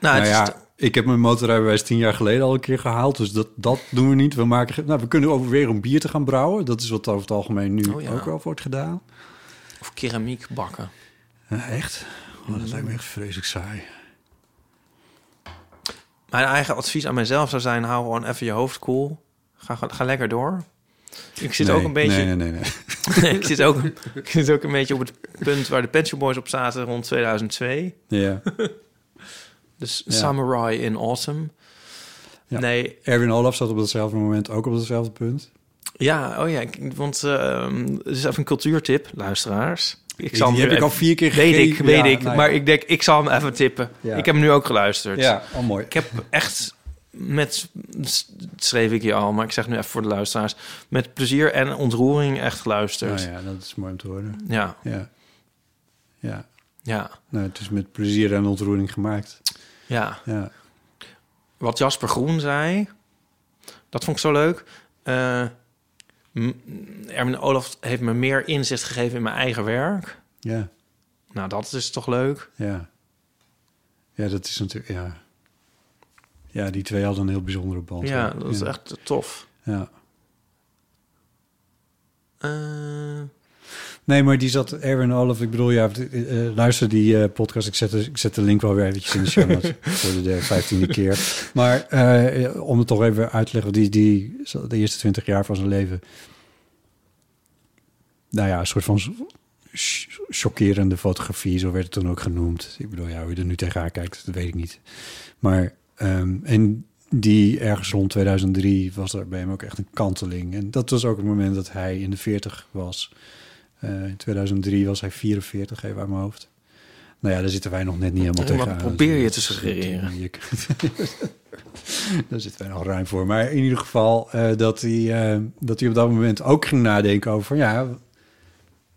Speaker 3: Nou,
Speaker 1: Nou,
Speaker 3: het is-
Speaker 1: ja, ik heb mijn motorrijbewijs tien jaar geleden al een keer gehaald, dus dat, dat doen we niet. We, maken, ge- nou, we kunnen overwegen om bier te gaan brouwen. Dat is wat over het algemeen nu
Speaker 3: Oh ja.
Speaker 1: ook wel wordt gedaan.
Speaker 3: Of keramiek bakken.
Speaker 1: Ja, echt? Oh, dat lijkt me echt vreselijk saai.
Speaker 3: Mijn eigen advies aan mezelf zou zijn, hou gewoon even je hoofd koel. Ga, ga, ga lekker door. Ik zit
Speaker 1: Nee,
Speaker 3: ook een beetje...
Speaker 1: nee, nee, nee,
Speaker 3: Nee, ik, zit ook, ik zit ook een beetje op het punt waar de Pet Shop Boys op zaten rond 2002.
Speaker 1: Ja.
Speaker 3: dus
Speaker 1: Ja.
Speaker 3: Samurai in Autumn.
Speaker 1: Ja.
Speaker 3: Nee,
Speaker 1: Erwin Olaf zat op datzelfde moment ook op datzelfde punt.
Speaker 3: Ja, oh ja, ik- want ehm het is even een cultuurtip, luisteraars. Ik
Speaker 1: Die
Speaker 3: hem
Speaker 1: heb
Speaker 3: nu
Speaker 1: ik al vier keer
Speaker 3: Weet ik,
Speaker 1: gegeven.
Speaker 3: weet
Speaker 1: Ja,
Speaker 3: ik.
Speaker 1: nou ja.
Speaker 3: Maar ik denk, ik zal hem even tippen.
Speaker 1: Ja.
Speaker 3: Ik heb hem nu ook geluisterd.
Speaker 1: Ja, al mooi.
Speaker 3: Ik heb echt met, dat schreef ik hier al, maar ik zeg nu even voor de luisteraars, met plezier en ontroering echt geluisterd.
Speaker 1: Nou ja, dat is mooi om te horen.
Speaker 3: Ja.
Speaker 1: Ja. Ja.
Speaker 3: Ja.
Speaker 1: Nou, het is met plezier en ontroering gemaakt.
Speaker 3: Ja.
Speaker 1: Ja.
Speaker 3: Wat Jasper Groen zei, dat vond ik zo leuk. Eh, m- Erwin Olaf heeft me meer inzicht gegeven in mijn eigen werk.
Speaker 1: Ja.
Speaker 3: Nou, dat is toch leuk?
Speaker 1: Ja. Ja, dat is natuurlijk... Ja. ja, die twee hadden een heel bijzondere band.
Speaker 3: Ja,
Speaker 1: hè?
Speaker 3: dat is echt tof.
Speaker 1: Ja.
Speaker 3: Eh,
Speaker 1: Nee, maar die zat... Erwin Olaf, ik bedoel, ja, eh, eh, luister die eh, podcast. Ik zet, de, ik zet de link wel weer eventjes in de show notes voor de vijftiende keer. Maar eh, om het toch even uit te leggen. Die, die, zat de eerste twintig jaar van zijn leven... nou ja, een soort van ch- chockerende fotografie, zo werd het toen ook genoemd. Ik bedoel, ja, hoe je er nu tegenaan kijkt, dat weet ik niet. Maar, ehm, en die ergens rond 2003 was er bij hem ook echt een kanteling. En dat was ook het moment dat hij in de 40 was. Eh, in 2003 was hij 44, even uit mijn hoofd. Nou ja, daar zitten wij nog net niet helemaal
Speaker 3: Ja, maar
Speaker 1: tegenaan.
Speaker 3: probeer je
Speaker 1: Dat
Speaker 3: te
Speaker 1: is-
Speaker 3: suggereren.
Speaker 1: je kunt- daar zitten wij nog ruim voor. Maar in ieder geval eh, dat, hij, eh, dat hij op dat moment ook ging nadenken over... van ja,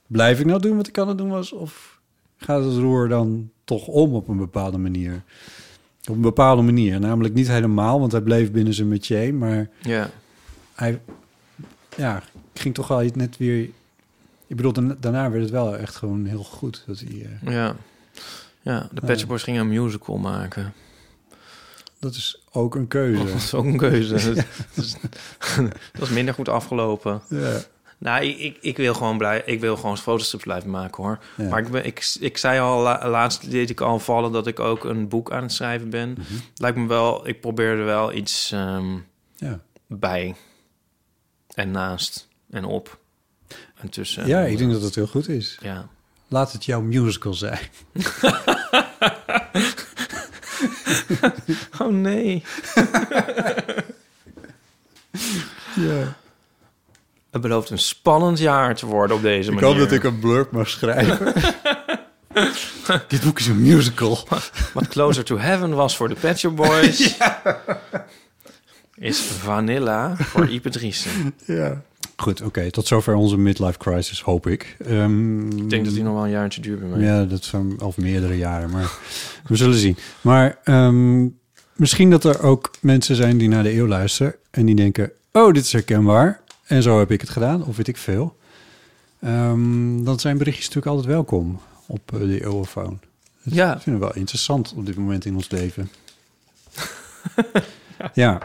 Speaker 1: blijf ik nou doen wat ik aan het doen was? Of gaat het roer dan toch om op een bepaalde manier? Op een bepaalde manier. Namelijk niet helemaal, want hij bleef binnen zijn métier. Maar
Speaker 3: Ja.
Speaker 1: hij ja, ging toch wel net weer... Ik bedoel, daarna- daarna werd het wel echt gewoon heel goed. Dat hij, eh,
Speaker 3: Ja. Ja, de Pet Shop Boys gingen een musical maken.
Speaker 1: dat is ook een keuze.
Speaker 3: Dat is ook een keuze.
Speaker 1: Ja.
Speaker 3: dat, is, dat is minder goed afgelopen.
Speaker 1: Ja.
Speaker 3: Nou, ik, ik, ik wil gewoon blij, ik wil gewoon fotostrips blijven maken hoor.
Speaker 1: Ja.
Speaker 3: Maar ik, ben, ik, ik zei al, la- laatst deed ik al vallen dat ik ook een boek aan het schrijven ben. Lijkt me wel, ik probeer er wel iets ehm,
Speaker 1: Ja.
Speaker 3: bij en naast en op en tussen.
Speaker 1: Ja, ik denk dat het heel goed is.
Speaker 3: Dus, eh, Ja.
Speaker 1: Laat het jouw musical zijn.
Speaker 3: Oh nee.
Speaker 1: ja.
Speaker 3: Het belooft een spannend jaar te worden op deze
Speaker 1: Ik
Speaker 3: manier.
Speaker 1: hoop dat ik een blurb mag schrijven. Dit boek is een musical.
Speaker 3: Wat Closer to Heaven was voor de Pet Shop Boys... is Vanilla voor Ipe Driessen.
Speaker 1: Ja. Goed, oké. Tot zover onze midlife crisis, hoop ik. Ehm,
Speaker 3: Ik denk dat die nog wel een jaartje duurt bij mij.
Speaker 1: Ja, dat zijn al meerdere jaren, maar we zullen zien. Maar ehm, misschien dat er ook mensen zijn die naar de eeuw luisteren en die denken: Oh, dit is herkenbaar. En zo heb ik het gedaan, of weet ik veel. Ehm, dan zijn berichtjes natuurlijk altijd welkom op eh, de eeuwofoon. Dat
Speaker 3: Ja.
Speaker 1: vinden we wel interessant op dit moment in ons leven. ja,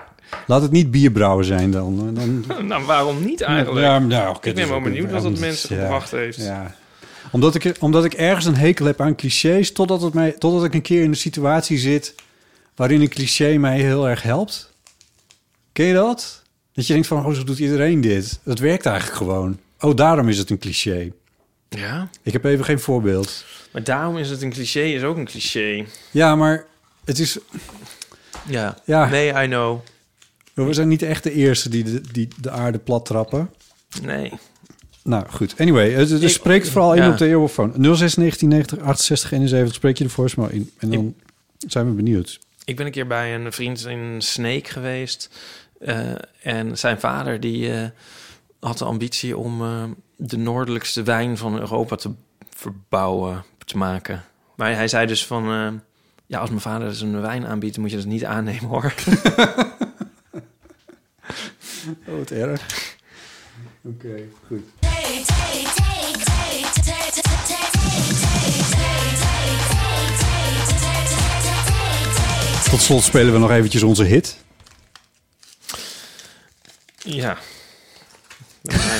Speaker 1: laat het niet bierbrouwen zijn dan. dan
Speaker 3: Nou, waarom niet eigenlijk?
Speaker 1: Ja, nou, oké,
Speaker 3: ik
Speaker 1: dat
Speaker 3: ben
Speaker 1: is
Speaker 3: wel
Speaker 1: ook
Speaker 3: benieuwd
Speaker 1: een-
Speaker 3: wat dat
Speaker 1: ja,
Speaker 3: mensen
Speaker 1: ja,
Speaker 3: gebracht heeft.
Speaker 1: Ja. Omdat ik, omdat ik ergens een hekel heb aan clichés, totdat, het mij, totdat ik een keer in een situatie zit waarin een cliché mij heel erg helpt. Ken je dat? Dat je denkt van, oh, zo doet iedereen dit. Dat werkt eigenlijk gewoon. Oh, daarom is het een cliché.
Speaker 3: Ja?
Speaker 1: Ik heb even geen voorbeeld.
Speaker 3: Maar daarom is het een cliché, is ook een cliché.
Speaker 1: Ja, maar het is...
Speaker 3: Ja.
Speaker 1: Ja.
Speaker 3: Nee, I know.
Speaker 1: We zijn niet echt de eerste die de, die de aarde plat trappen.
Speaker 3: Nee.
Speaker 1: Nou goed, anyway, het, het
Speaker 3: Ik-
Speaker 1: spreekt vooral in
Speaker 3: ja.
Speaker 1: op de eeuwofoon. 06 1990 68 71 spreek je de voicemail in. En dan zijn we benieuwd.
Speaker 3: Ik ben een keer bij een vriend in Sneek geweest. eh, en zijn vader die eh, had de ambitie om eh, de noordelijkste wijn van Europa te verbouwen, te maken. Maar hij zei dus van... eh, ja, als mijn vader dus een wijn aanbiedt, dan moet je dat niet aannemen hoor.
Speaker 1: Oh, wat erg. Oké, goed. Tot slot spelen we nog eventjes onze hit.
Speaker 3: ja.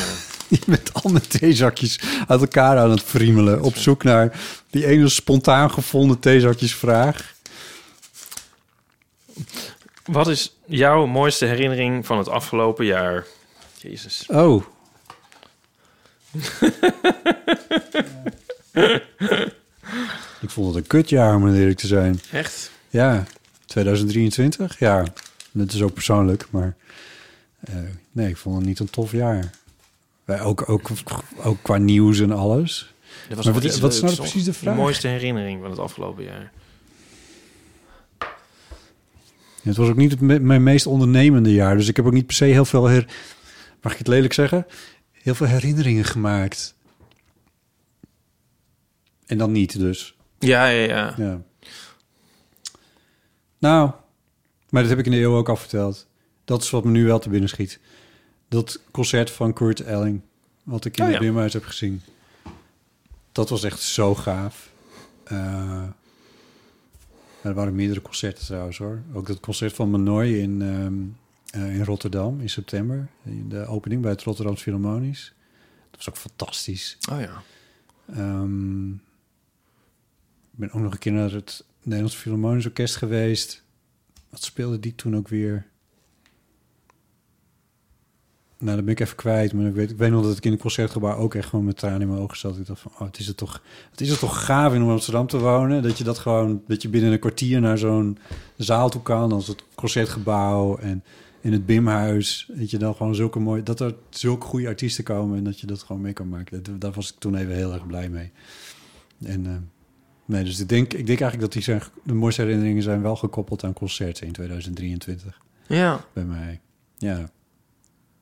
Speaker 1: Je bent al met theezakjes uit elkaar aan het friemelen. Op zoek naar die ene spontaan gevonden theezakjesvraag.
Speaker 3: Wat is jouw mooiste herinnering van het afgelopen jaar? Jezus.
Speaker 1: Oh. Ik vond het een kutjaar om eerlijk te zijn.
Speaker 3: Echt?
Speaker 1: Ja, 2023. Ja, dat is ook persoonlijk, maar eh, nee, ik vond het niet een tof jaar. Wij ook, ook, ook qua nieuws en alles.
Speaker 3: Er was
Speaker 1: maar
Speaker 3: nog
Speaker 1: wat,
Speaker 3: iets
Speaker 1: wat is nou
Speaker 3: leuks,
Speaker 1: precies de
Speaker 3: toch?
Speaker 1: vraag?
Speaker 3: Je mooiste herinnering van het afgelopen jaar.
Speaker 1: Ja, Het was ook niet het me- mijn meest ondernemende jaar. Dus ik heb ook niet per se heel veel... Her Mag ik het lelijk zeggen? Heel veel herinneringen gemaakt. En dan niet dus.
Speaker 3: Ja, ja, ja.
Speaker 1: Ja. Nou, maar dat heb ik in de eeuw ook al verteld. Dat is wat me nu wel te binnen schiet. Dat concert van Kurt Elling, wat ik in
Speaker 3: Oh,
Speaker 1: het
Speaker 3: ja.
Speaker 1: Bimhuis heb gezien. Dat was echt zo gaaf. Eh, er waren meerdere concerten trouwens hoor. Ook dat concert van Manoy in, ehm, eh, in Rotterdam in september. In de opening bij het Rotterdams Philharmonisch. Dat was ook fantastisch.
Speaker 3: Oh ja.
Speaker 1: Ehm, ik ben ook nog een keer naar het Nederlands Philharmonisch Orkest geweest. Wat speelde die toen ook weer? Nou, dat ben ik even kwijt. Maar ik weet, ik weet nog dat ik in het concertgebouw ook echt gewoon met tranen in mijn ogen zat. Ik dacht van, oh, het is het toch, het is het toch gaaf in om in Amsterdam te wonen. Dat je dat gewoon, dat je binnen een kwartier naar zo'n zaal toe kan als het concertgebouw. En, en in het Bimhuis. Dat je dan gewoon zulke mooie, dat er zulke goede artiesten komen en dat je dat gewoon mee kan maken. Dat, daar was ik toen even heel erg blij mee. En eh, nee, dus ik denk, ik denk eigenlijk dat die zijn, de mooiste herinneringen zijn wel gekoppeld aan concerten in 2023.
Speaker 3: Ja.
Speaker 1: Bij mij. Ja.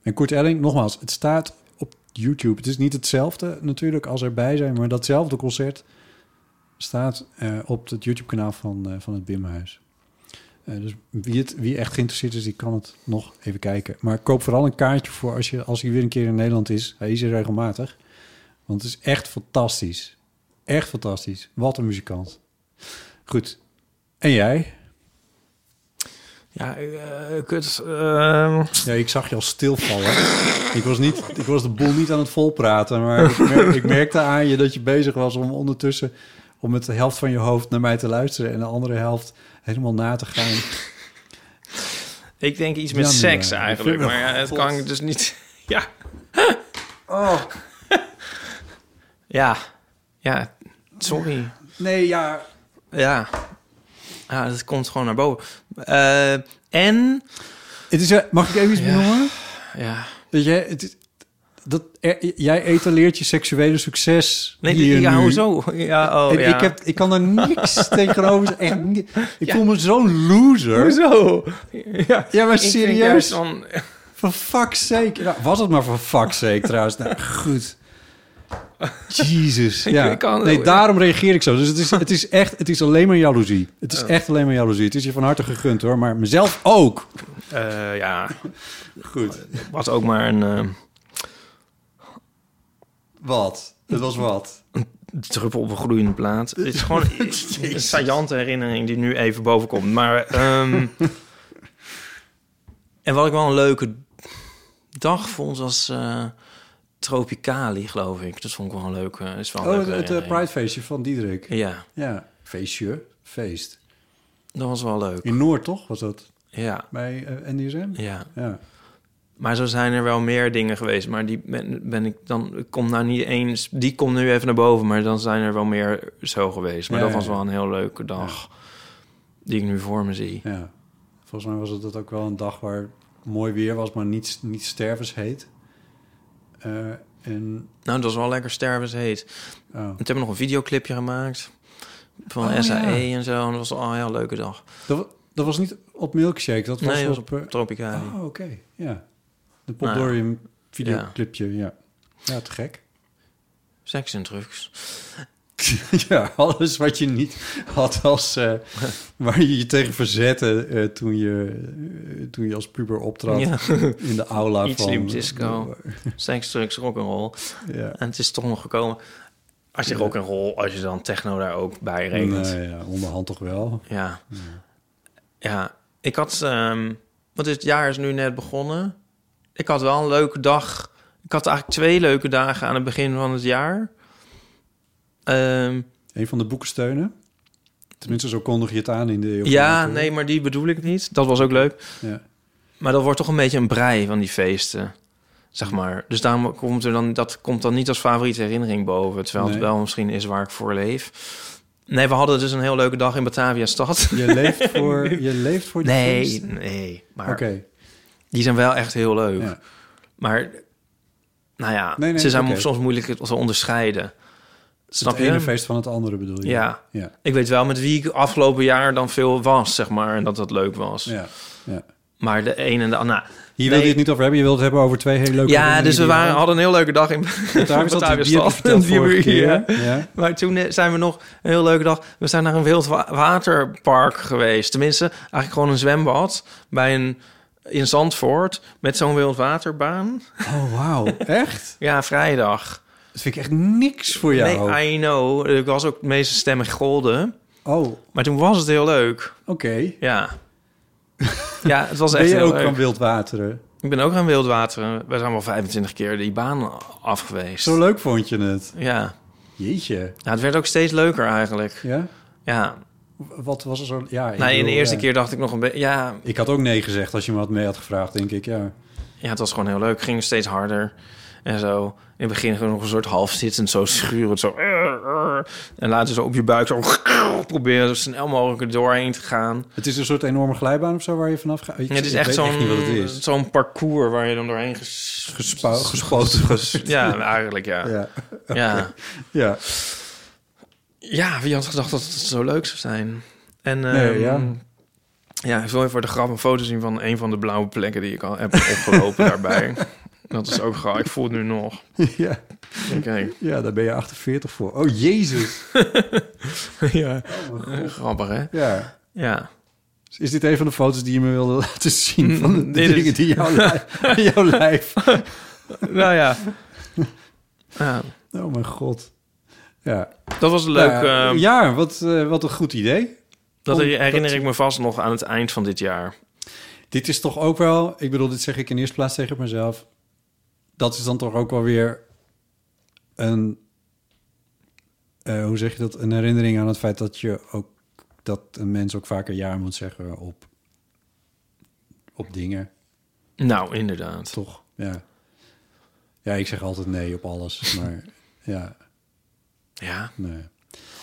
Speaker 1: En Kurt Elling, nogmaals, het staat op YouTube. Het is niet hetzelfde natuurlijk als erbij zijn, maar datzelfde concert staat eh, op het YouTube-kanaal van, eh, van het Bimhuis. Eh, dus wie, het, wie echt geïnteresseerd is, die kan het nog even kijken. Maar koop vooral een kaartje voor als, je, als hij weer een keer in Nederland is. Hij is er regelmatig. Want het is echt fantastisch. Echt fantastisch. Wat een muzikant. Goed. En jij?
Speaker 3: Ja, eh, kut. ehm,
Speaker 1: Ja, ik zag je al stilvallen. ik, was niet, ik was de boel niet aan het volpraten, maar ik, mer- ik merkte aan je dat je bezig was om ondertussen om met de helft van je hoofd naar mij te luisteren en de andere helft helemaal na te gaan.
Speaker 3: Ik denk iets met
Speaker 1: Januari.
Speaker 3: seks eigenlijk,
Speaker 1: Vind-
Speaker 3: maar ja, het
Speaker 1: God.
Speaker 3: kan ik dus niet. Ja. Ja. Ja, sorry.
Speaker 1: Nee, ja.
Speaker 3: Ja. Ja, dat komt gewoon naar boven. Eh, en...
Speaker 1: Het is, eh, mag ik even iets benoemen?
Speaker 3: Ja.
Speaker 1: Dat jij, het, is- dat, er- jij etaleert je seksuele succes.
Speaker 3: Nee,
Speaker 1: hier
Speaker 3: ja,
Speaker 1: nu.
Speaker 3: hoezo? Ja, oh,
Speaker 1: En
Speaker 3: ja.
Speaker 1: Ik, heb, ik kan er niks tegenover. Echt, niet. ik voel me zo'n loser.
Speaker 3: Hoezo?
Speaker 1: Ja, maar
Speaker 3: ik vind
Speaker 1: serieus.
Speaker 3: juist dan-
Speaker 1: Voor fuck's sake. Nou, was het maar voor fuck's sake trouwens. Nou, goed. Jezus.
Speaker 3: Ik-
Speaker 1: Ja.
Speaker 3: ik kan-
Speaker 1: nee, daarom reageer ik zo. Dus het is, het is echt, het is alleen maar jaloezie. Het is
Speaker 3: Ja.
Speaker 1: echt alleen maar jaloezie. Het is je van harte gegund hoor, maar mezelf ook.
Speaker 3: Eh, ja.
Speaker 1: Goed.
Speaker 3: Nou, Was ook maar een... eh,
Speaker 1: Wat? Het was wat?
Speaker 3: Een druppel op een gloeiende plaat. Het is gewoon een saillante herinnering die nu even boven komt. Maar, ehm, en wat ik wel een leuke dag vond, was eh, Tropicali, geloof ik. Dat vond ik wel een leuke... Is wel een
Speaker 1: Oh, het,
Speaker 3: leuke
Speaker 1: het eh,
Speaker 3: herinnering.
Speaker 1: Pride-feestje van Diederik.
Speaker 3: Ja.
Speaker 1: Ja, feestje, feest.
Speaker 3: Dat was wel leuk.
Speaker 1: In Noord, toch, was dat?
Speaker 3: Ja.
Speaker 1: Bij eh, NDSM?
Speaker 3: Ja.
Speaker 1: ja.
Speaker 3: Maar zo zijn er wel meer dingen geweest. Maar die ben, ben ik dan. Ik kom nou niet eens. Die komt nu even naar boven. Maar dan zijn er wel meer zo geweest. Maar
Speaker 1: Ja,
Speaker 3: dat
Speaker 1: ja,
Speaker 3: was
Speaker 1: ja.
Speaker 3: wel een heel leuke dag. Die ik nu voor me zie.
Speaker 1: Ja. Volgens mij was het dat ook wel een dag waar mooi weer was, maar niet, niet stervensheet. Eh, en
Speaker 3: Nou, dat was wel lekker stervensheet.
Speaker 1: Oh.
Speaker 3: En Toen hebben we nog een videoclipje gemaakt. Van
Speaker 1: Oh,
Speaker 3: SAE
Speaker 1: ja.
Speaker 3: en zo. En dat was al een heel leuke dag.
Speaker 1: dat, wa- dat was niet op Milkshake, dat was
Speaker 3: nee, dat
Speaker 1: op...
Speaker 3: was op
Speaker 1: eh,
Speaker 3: Tropicali.
Speaker 1: oh, oké. Ja. De
Speaker 3: Nou,
Speaker 1: Poldorium videoclipje, ja. Ja, te gek.
Speaker 3: Seks en drugs.
Speaker 1: ja, alles wat je niet had als... eh, waar je je tegen verzette eh, toen, je, eh, toen je als puber optrad in de aula
Speaker 3: Iets
Speaker 1: van... Oh.
Speaker 3: Slim disco, seks, drugs, rock'n'roll.
Speaker 1: Ja.
Speaker 3: En het is toch nog gekomen. Als je rock'n'roll, als je dan techno daar ook bij rekent.
Speaker 1: Nee, ja, onderhand toch wel.
Speaker 3: Ja. Ja, ik had... ehm want het jaar is nu net begonnen. Ik had wel een leuke dag. Ik had eigenlijk twee leuke dagen aan het begin van het jaar. Ehm,
Speaker 1: Een van de boeken steunen. Tenminste, zo kondig je het aan in de eeuw. van
Speaker 3: ja,
Speaker 1: de
Speaker 3: nee, maar die bedoel ik niet. Dat was ook leuk.
Speaker 1: Ja.
Speaker 3: Maar dat wordt toch een beetje een brei van die feesten. Zeg maar. Dus daarom komt er dan, dat komt dan niet als favoriete herinnering boven. Terwijl het
Speaker 1: Nee.
Speaker 3: wel misschien is waar ik voor leef. Nee, we hadden dus een heel leuke dag in Batavia stad.
Speaker 1: Je leeft voor, je leeft voor de
Speaker 3: nee,
Speaker 1: feesten?
Speaker 3: Nee, maar
Speaker 1: Oké.
Speaker 3: die zijn wel echt heel leuk.
Speaker 1: Ja.
Speaker 3: Maar, nou ja,
Speaker 1: Nee, nee,
Speaker 3: ze zijn
Speaker 1: oké.
Speaker 3: soms moeilijk te onderscheiden. Snap
Speaker 1: het
Speaker 3: je?
Speaker 1: ene feest van het andere bedoel je?
Speaker 3: Ja.
Speaker 1: ja.
Speaker 3: Ik weet wel met wie ik afgelopen jaar dan veel was, zeg maar. En dat dat leuk was.
Speaker 1: Ja, ja.
Speaker 3: Maar de een en de ander... Nou,
Speaker 1: Hier wil
Speaker 3: nee,
Speaker 1: je het niet over hebben. Je wilt het hebben over twee hele leuke
Speaker 3: ja,
Speaker 1: herinneringen
Speaker 3: dus we
Speaker 1: die je
Speaker 3: waren, hadden een heel leuke dag in
Speaker 1: Batavia zat, die heb je verteld
Speaker 3: Die hebben we
Speaker 1: vorige
Speaker 3: hier.
Speaker 1: keer, ja.
Speaker 3: Maar toen eh, zijn we nog een heel leuke dag. We zijn naar een wild wa- waterpark geweest. Tenminste, eigenlijk gewoon een zwembad bij een, in Zandvoort met zo'n wildwaterbaan.
Speaker 1: Oh, wauw. Echt?
Speaker 3: ja, vrijdag.
Speaker 1: Dat vind ik echt niks voor jou.
Speaker 3: Nee, I know. Ik was ook de meeste stemmen golden.
Speaker 1: Oh.
Speaker 3: Maar toen was het heel leuk.
Speaker 1: Oké.
Speaker 3: Ja. Ja, het was
Speaker 1: Ben
Speaker 3: echt
Speaker 1: je
Speaker 3: heel
Speaker 1: ook
Speaker 3: leuk.
Speaker 1: gaan wildwateren?
Speaker 3: Ik ben ook gaan wildwateren. We zijn wel 25 keer die baan af geweest.
Speaker 1: Zo leuk vond je het.
Speaker 3: Ja.
Speaker 1: Jeetje.
Speaker 3: Ja, Nou, het werd ook steeds leuker eigenlijk.
Speaker 1: Ja?
Speaker 3: Ja.
Speaker 1: Wat was er zo... Ja, ik
Speaker 3: Nou, in de
Speaker 1: bedoel,
Speaker 3: eerste
Speaker 1: ja.
Speaker 3: keer dacht ik nog een beetje... Ja,
Speaker 1: Ik had ook nee gezegd als je me had mee had gevraagd, denk ik. Ja.
Speaker 3: ja, het was gewoon heel leuk. Het ging steeds harder. En zo in het begin gewoon nog een soort half zittend, zo schurend, zo. En later zo op je buik zo proberen zo snel mogelijk er doorheen te gaan.
Speaker 1: Het is een soort enorme glijbaan of zo waar je vanaf gaat. Ik-
Speaker 3: Ja, het is
Speaker 1: ik
Speaker 3: echt
Speaker 1: weet
Speaker 3: zo'n
Speaker 1: niet wat het is.
Speaker 3: zo'n parcours waar je dan doorheen ges,
Speaker 1: Gespou- gespoten
Speaker 3: ges-
Speaker 1: wordt.
Speaker 3: ja, eigenlijk ja.
Speaker 1: Ja.
Speaker 3: Ja.
Speaker 1: Oké.
Speaker 3: ja.
Speaker 1: Ja.
Speaker 3: wie had gedacht dat het zo leuk zou zijn? En
Speaker 1: Nee,
Speaker 3: ehm,
Speaker 1: ja.
Speaker 3: ja. ik zal even voor de grap een foto zien van een van de blauwe plekken die ik al heb opgelopen daarbij. Dat is ook graag. Ik voel het nu nog.
Speaker 1: Ja.
Speaker 3: Kijk.
Speaker 1: ja, daar ben je 48 voor. Oh, jezus. ja.
Speaker 3: Eh, Grappig, hè?
Speaker 1: Ja. Dus
Speaker 3: Ja.
Speaker 1: Is dit een van de foto's die je me wilde laten zien?
Speaker 3: Mm,
Speaker 1: Van de, de
Speaker 3: dit is-
Speaker 1: dingen die jouw lijf... aan jouw lijf.
Speaker 3: nou ja. ja.
Speaker 1: Oh mijn god. Ja.
Speaker 3: Dat was leuk,
Speaker 1: Ja,
Speaker 3: ehm.
Speaker 1: ja, wat, eh, wat een goed idee.
Speaker 3: Dat
Speaker 1: Om-
Speaker 3: herinner ik me vast nog aan het eind van dit jaar.
Speaker 1: Dit is toch ook wel... Ik bedoel, dit zeg ik in eerste plaats tegen mezelf. Dat is dan toch ook wel weer een... eh, hoe zeg je dat? Een herinnering aan het feit dat je ook... Dat een mens ook vaker ja moet zeggen op, op dingen.
Speaker 3: Nou, inderdaad.
Speaker 1: Toch? Ja. Ja, ik zeg altijd nee op alles. Maar ja,
Speaker 3: Ja.
Speaker 1: nee.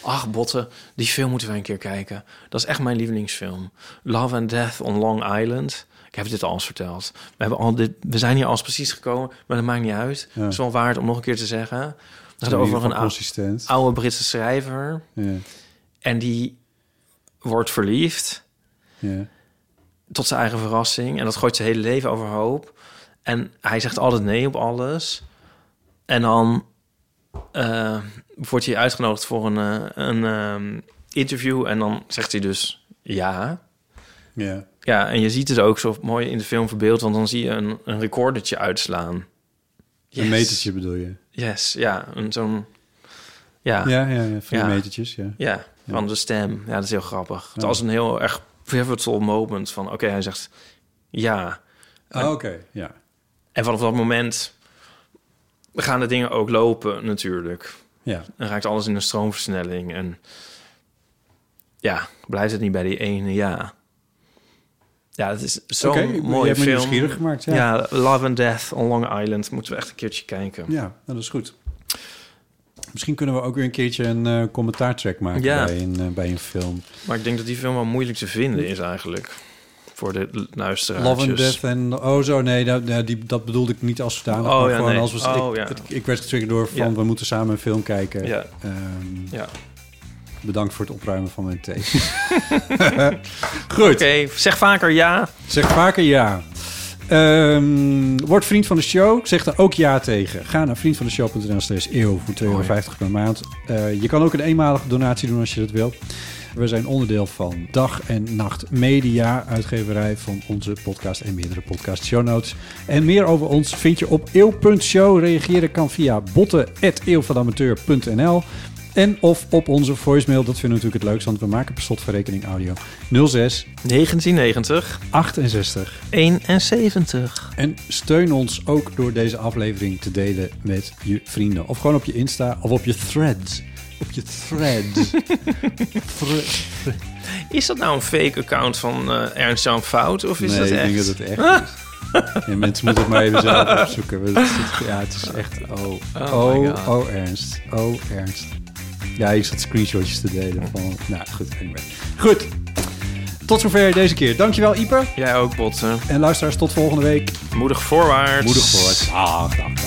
Speaker 3: Ach, Botten, die film moeten wij een keer kijken. Dat is echt mijn lievelingsfilm. Love and Death on Long Island. Ik heb dit al eens verteld. We, hebben al dit, we zijn hier al eens precies gekomen, maar dat maakt niet uit.
Speaker 1: Ja.
Speaker 3: Het is wel waard om nog een keer te zeggen. Het gaat
Speaker 1: in ieder
Speaker 3: over
Speaker 1: geval
Speaker 3: een ou-
Speaker 1: consistent.
Speaker 3: oude Britse schrijver.
Speaker 1: Ja.
Speaker 3: En die wordt verliefd.
Speaker 1: Ja.
Speaker 3: tot zijn eigen verrassing. En dat gooit zijn hele leven overhoop. En hij zegt altijd nee op alles. En dan eh, wordt hij uitgenodigd voor een, eh, een ehm, interview. En dan zegt hij dus ja.
Speaker 1: Ja.
Speaker 3: Ja, en je ziet het ook zo mooi in de film verbeeld. Want dan zie je een, een recordertje uitslaan. Yes.
Speaker 1: Een metertje bedoel je?
Speaker 3: Yes, ja. Een zo'n... Ja.
Speaker 1: Ja, ja, ja, van die metertjes, ja.
Speaker 3: Ja, van
Speaker 1: Ja. Oh.
Speaker 3: de stem. Ja, dat is heel grappig. Het
Speaker 1: Ja.
Speaker 3: was een heel erg pivotal moment van... Oké, hij zegt ja.
Speaker 1: Oh,
Speaker 3: En-
Speaker 1: oké, ja.
Speaker 3: En vanaf dat moment gaan de dingen ook lopen natuurlijk.
Speaker 1: Ja.
Speaker 3: Dan raakt alles in een stroomversnelling. En ja, blijft het niet bij die ene ja. Ja, het is zo'n
Speaker 1: Oké, ik- je
Speaker 3: mooie
Speaker 1: hebt me
Speaker 3: film.
Speaker 1: nieuwsgierig gemaakt, ja.
Speaker 3: Love and Death on Long Island. Moeten we echt een keertje kijken.
Speaker 1: Ja, nou, dat is goed. Misschien kunnen we ook weer een keertje een eh commentaartrack maken
Speaker 3: Ja.
Speaker 1: bij, een, eh, bij een film.
Speaker 3: Maar ik denk dat die film wel moeilijk te vinden is eigenlijk. Voor de luisteraars.
Speaker 1: Love and Death en... Oh zo, nee, dat, dat- die, dat bedoelde ik niet als zodanig.
Speaker 3: Oh,
Speaker 1: maar
Speaker 3: ja,
Speaker 1: gewoon
Speaker 3: nee.
Speaker 1: als we,
Speaker 3: Oh,
Speaker 1: ik,
Speaker 3: ja.
Speaker 1: het- ik werd getriggerd door van...
Speaker 3: Ja.
Speaker 1: we moeten samen een film kijken.
Speaker 3: Ja.
Speaker 1: Ehm,
Speaker 3: Ja.
Speaker 1: Bedankt voor het opruimen van mijn thee. Goed.
Speaker 3: Oké, zeg vaker ja.
Speaker 1: Zeg vaker ja. Ehm, word vriend van de show. Zeg daar ook ja tegen. Ga naar vriendvandeshow.nl slash eeuw voor 2,50 per maand. Eh, je kan ook een eenmalige donatie doen als je dat wilt. We zijn onderdeel van Dag en Nacht Media, uitgeverij van onze podcast en meerdere podcast show notes. En meer over ons vind je op eeuw.show. Reageren kan via botten.eeuwvanamateur.nl en of op onze voicemail. Dat vinden we natuurlijk het leukst, want we maken per slot van rekening audio 06
Speaker 3: 1990
Speaker 1: 68
Speaker 3: 71.
Speaker 1: en steun ons ook door deze aflevering te delen met je vrienden. Of gewoon op je Insta of op je threads. Op je threads.
Speaker 3: Is dat nou een fake account van eh, Ernst Jan Fout? Of is
Speaker 1: nee,
Speaker 3: dat
Speaker 1: ik
Speaker 3: echt?
Speaker 1: denk dat het echt is. Ja, mensen moeten het maar even zelf opzoeken. Want het is- ja, het is echt... Oh, oh,
Speaker 3: Oh my
Speaker 1: oh,
Speaker 3: God.
Speaker 1: Ernst. Oh, Ernst. Ja, ik zat screenshotjes te delen van... Nou, goed, anyway. Goed. Tot zover deze keer. Dankjewel, Ieper.
Speaker 3: Jij ook, Botsen.
Speaker 1: En luisteraars, tot volgende week.
Speaker 3: Moedig voorwaarts.
Speaker 1: Moedig voorwaarts. Ah, dag.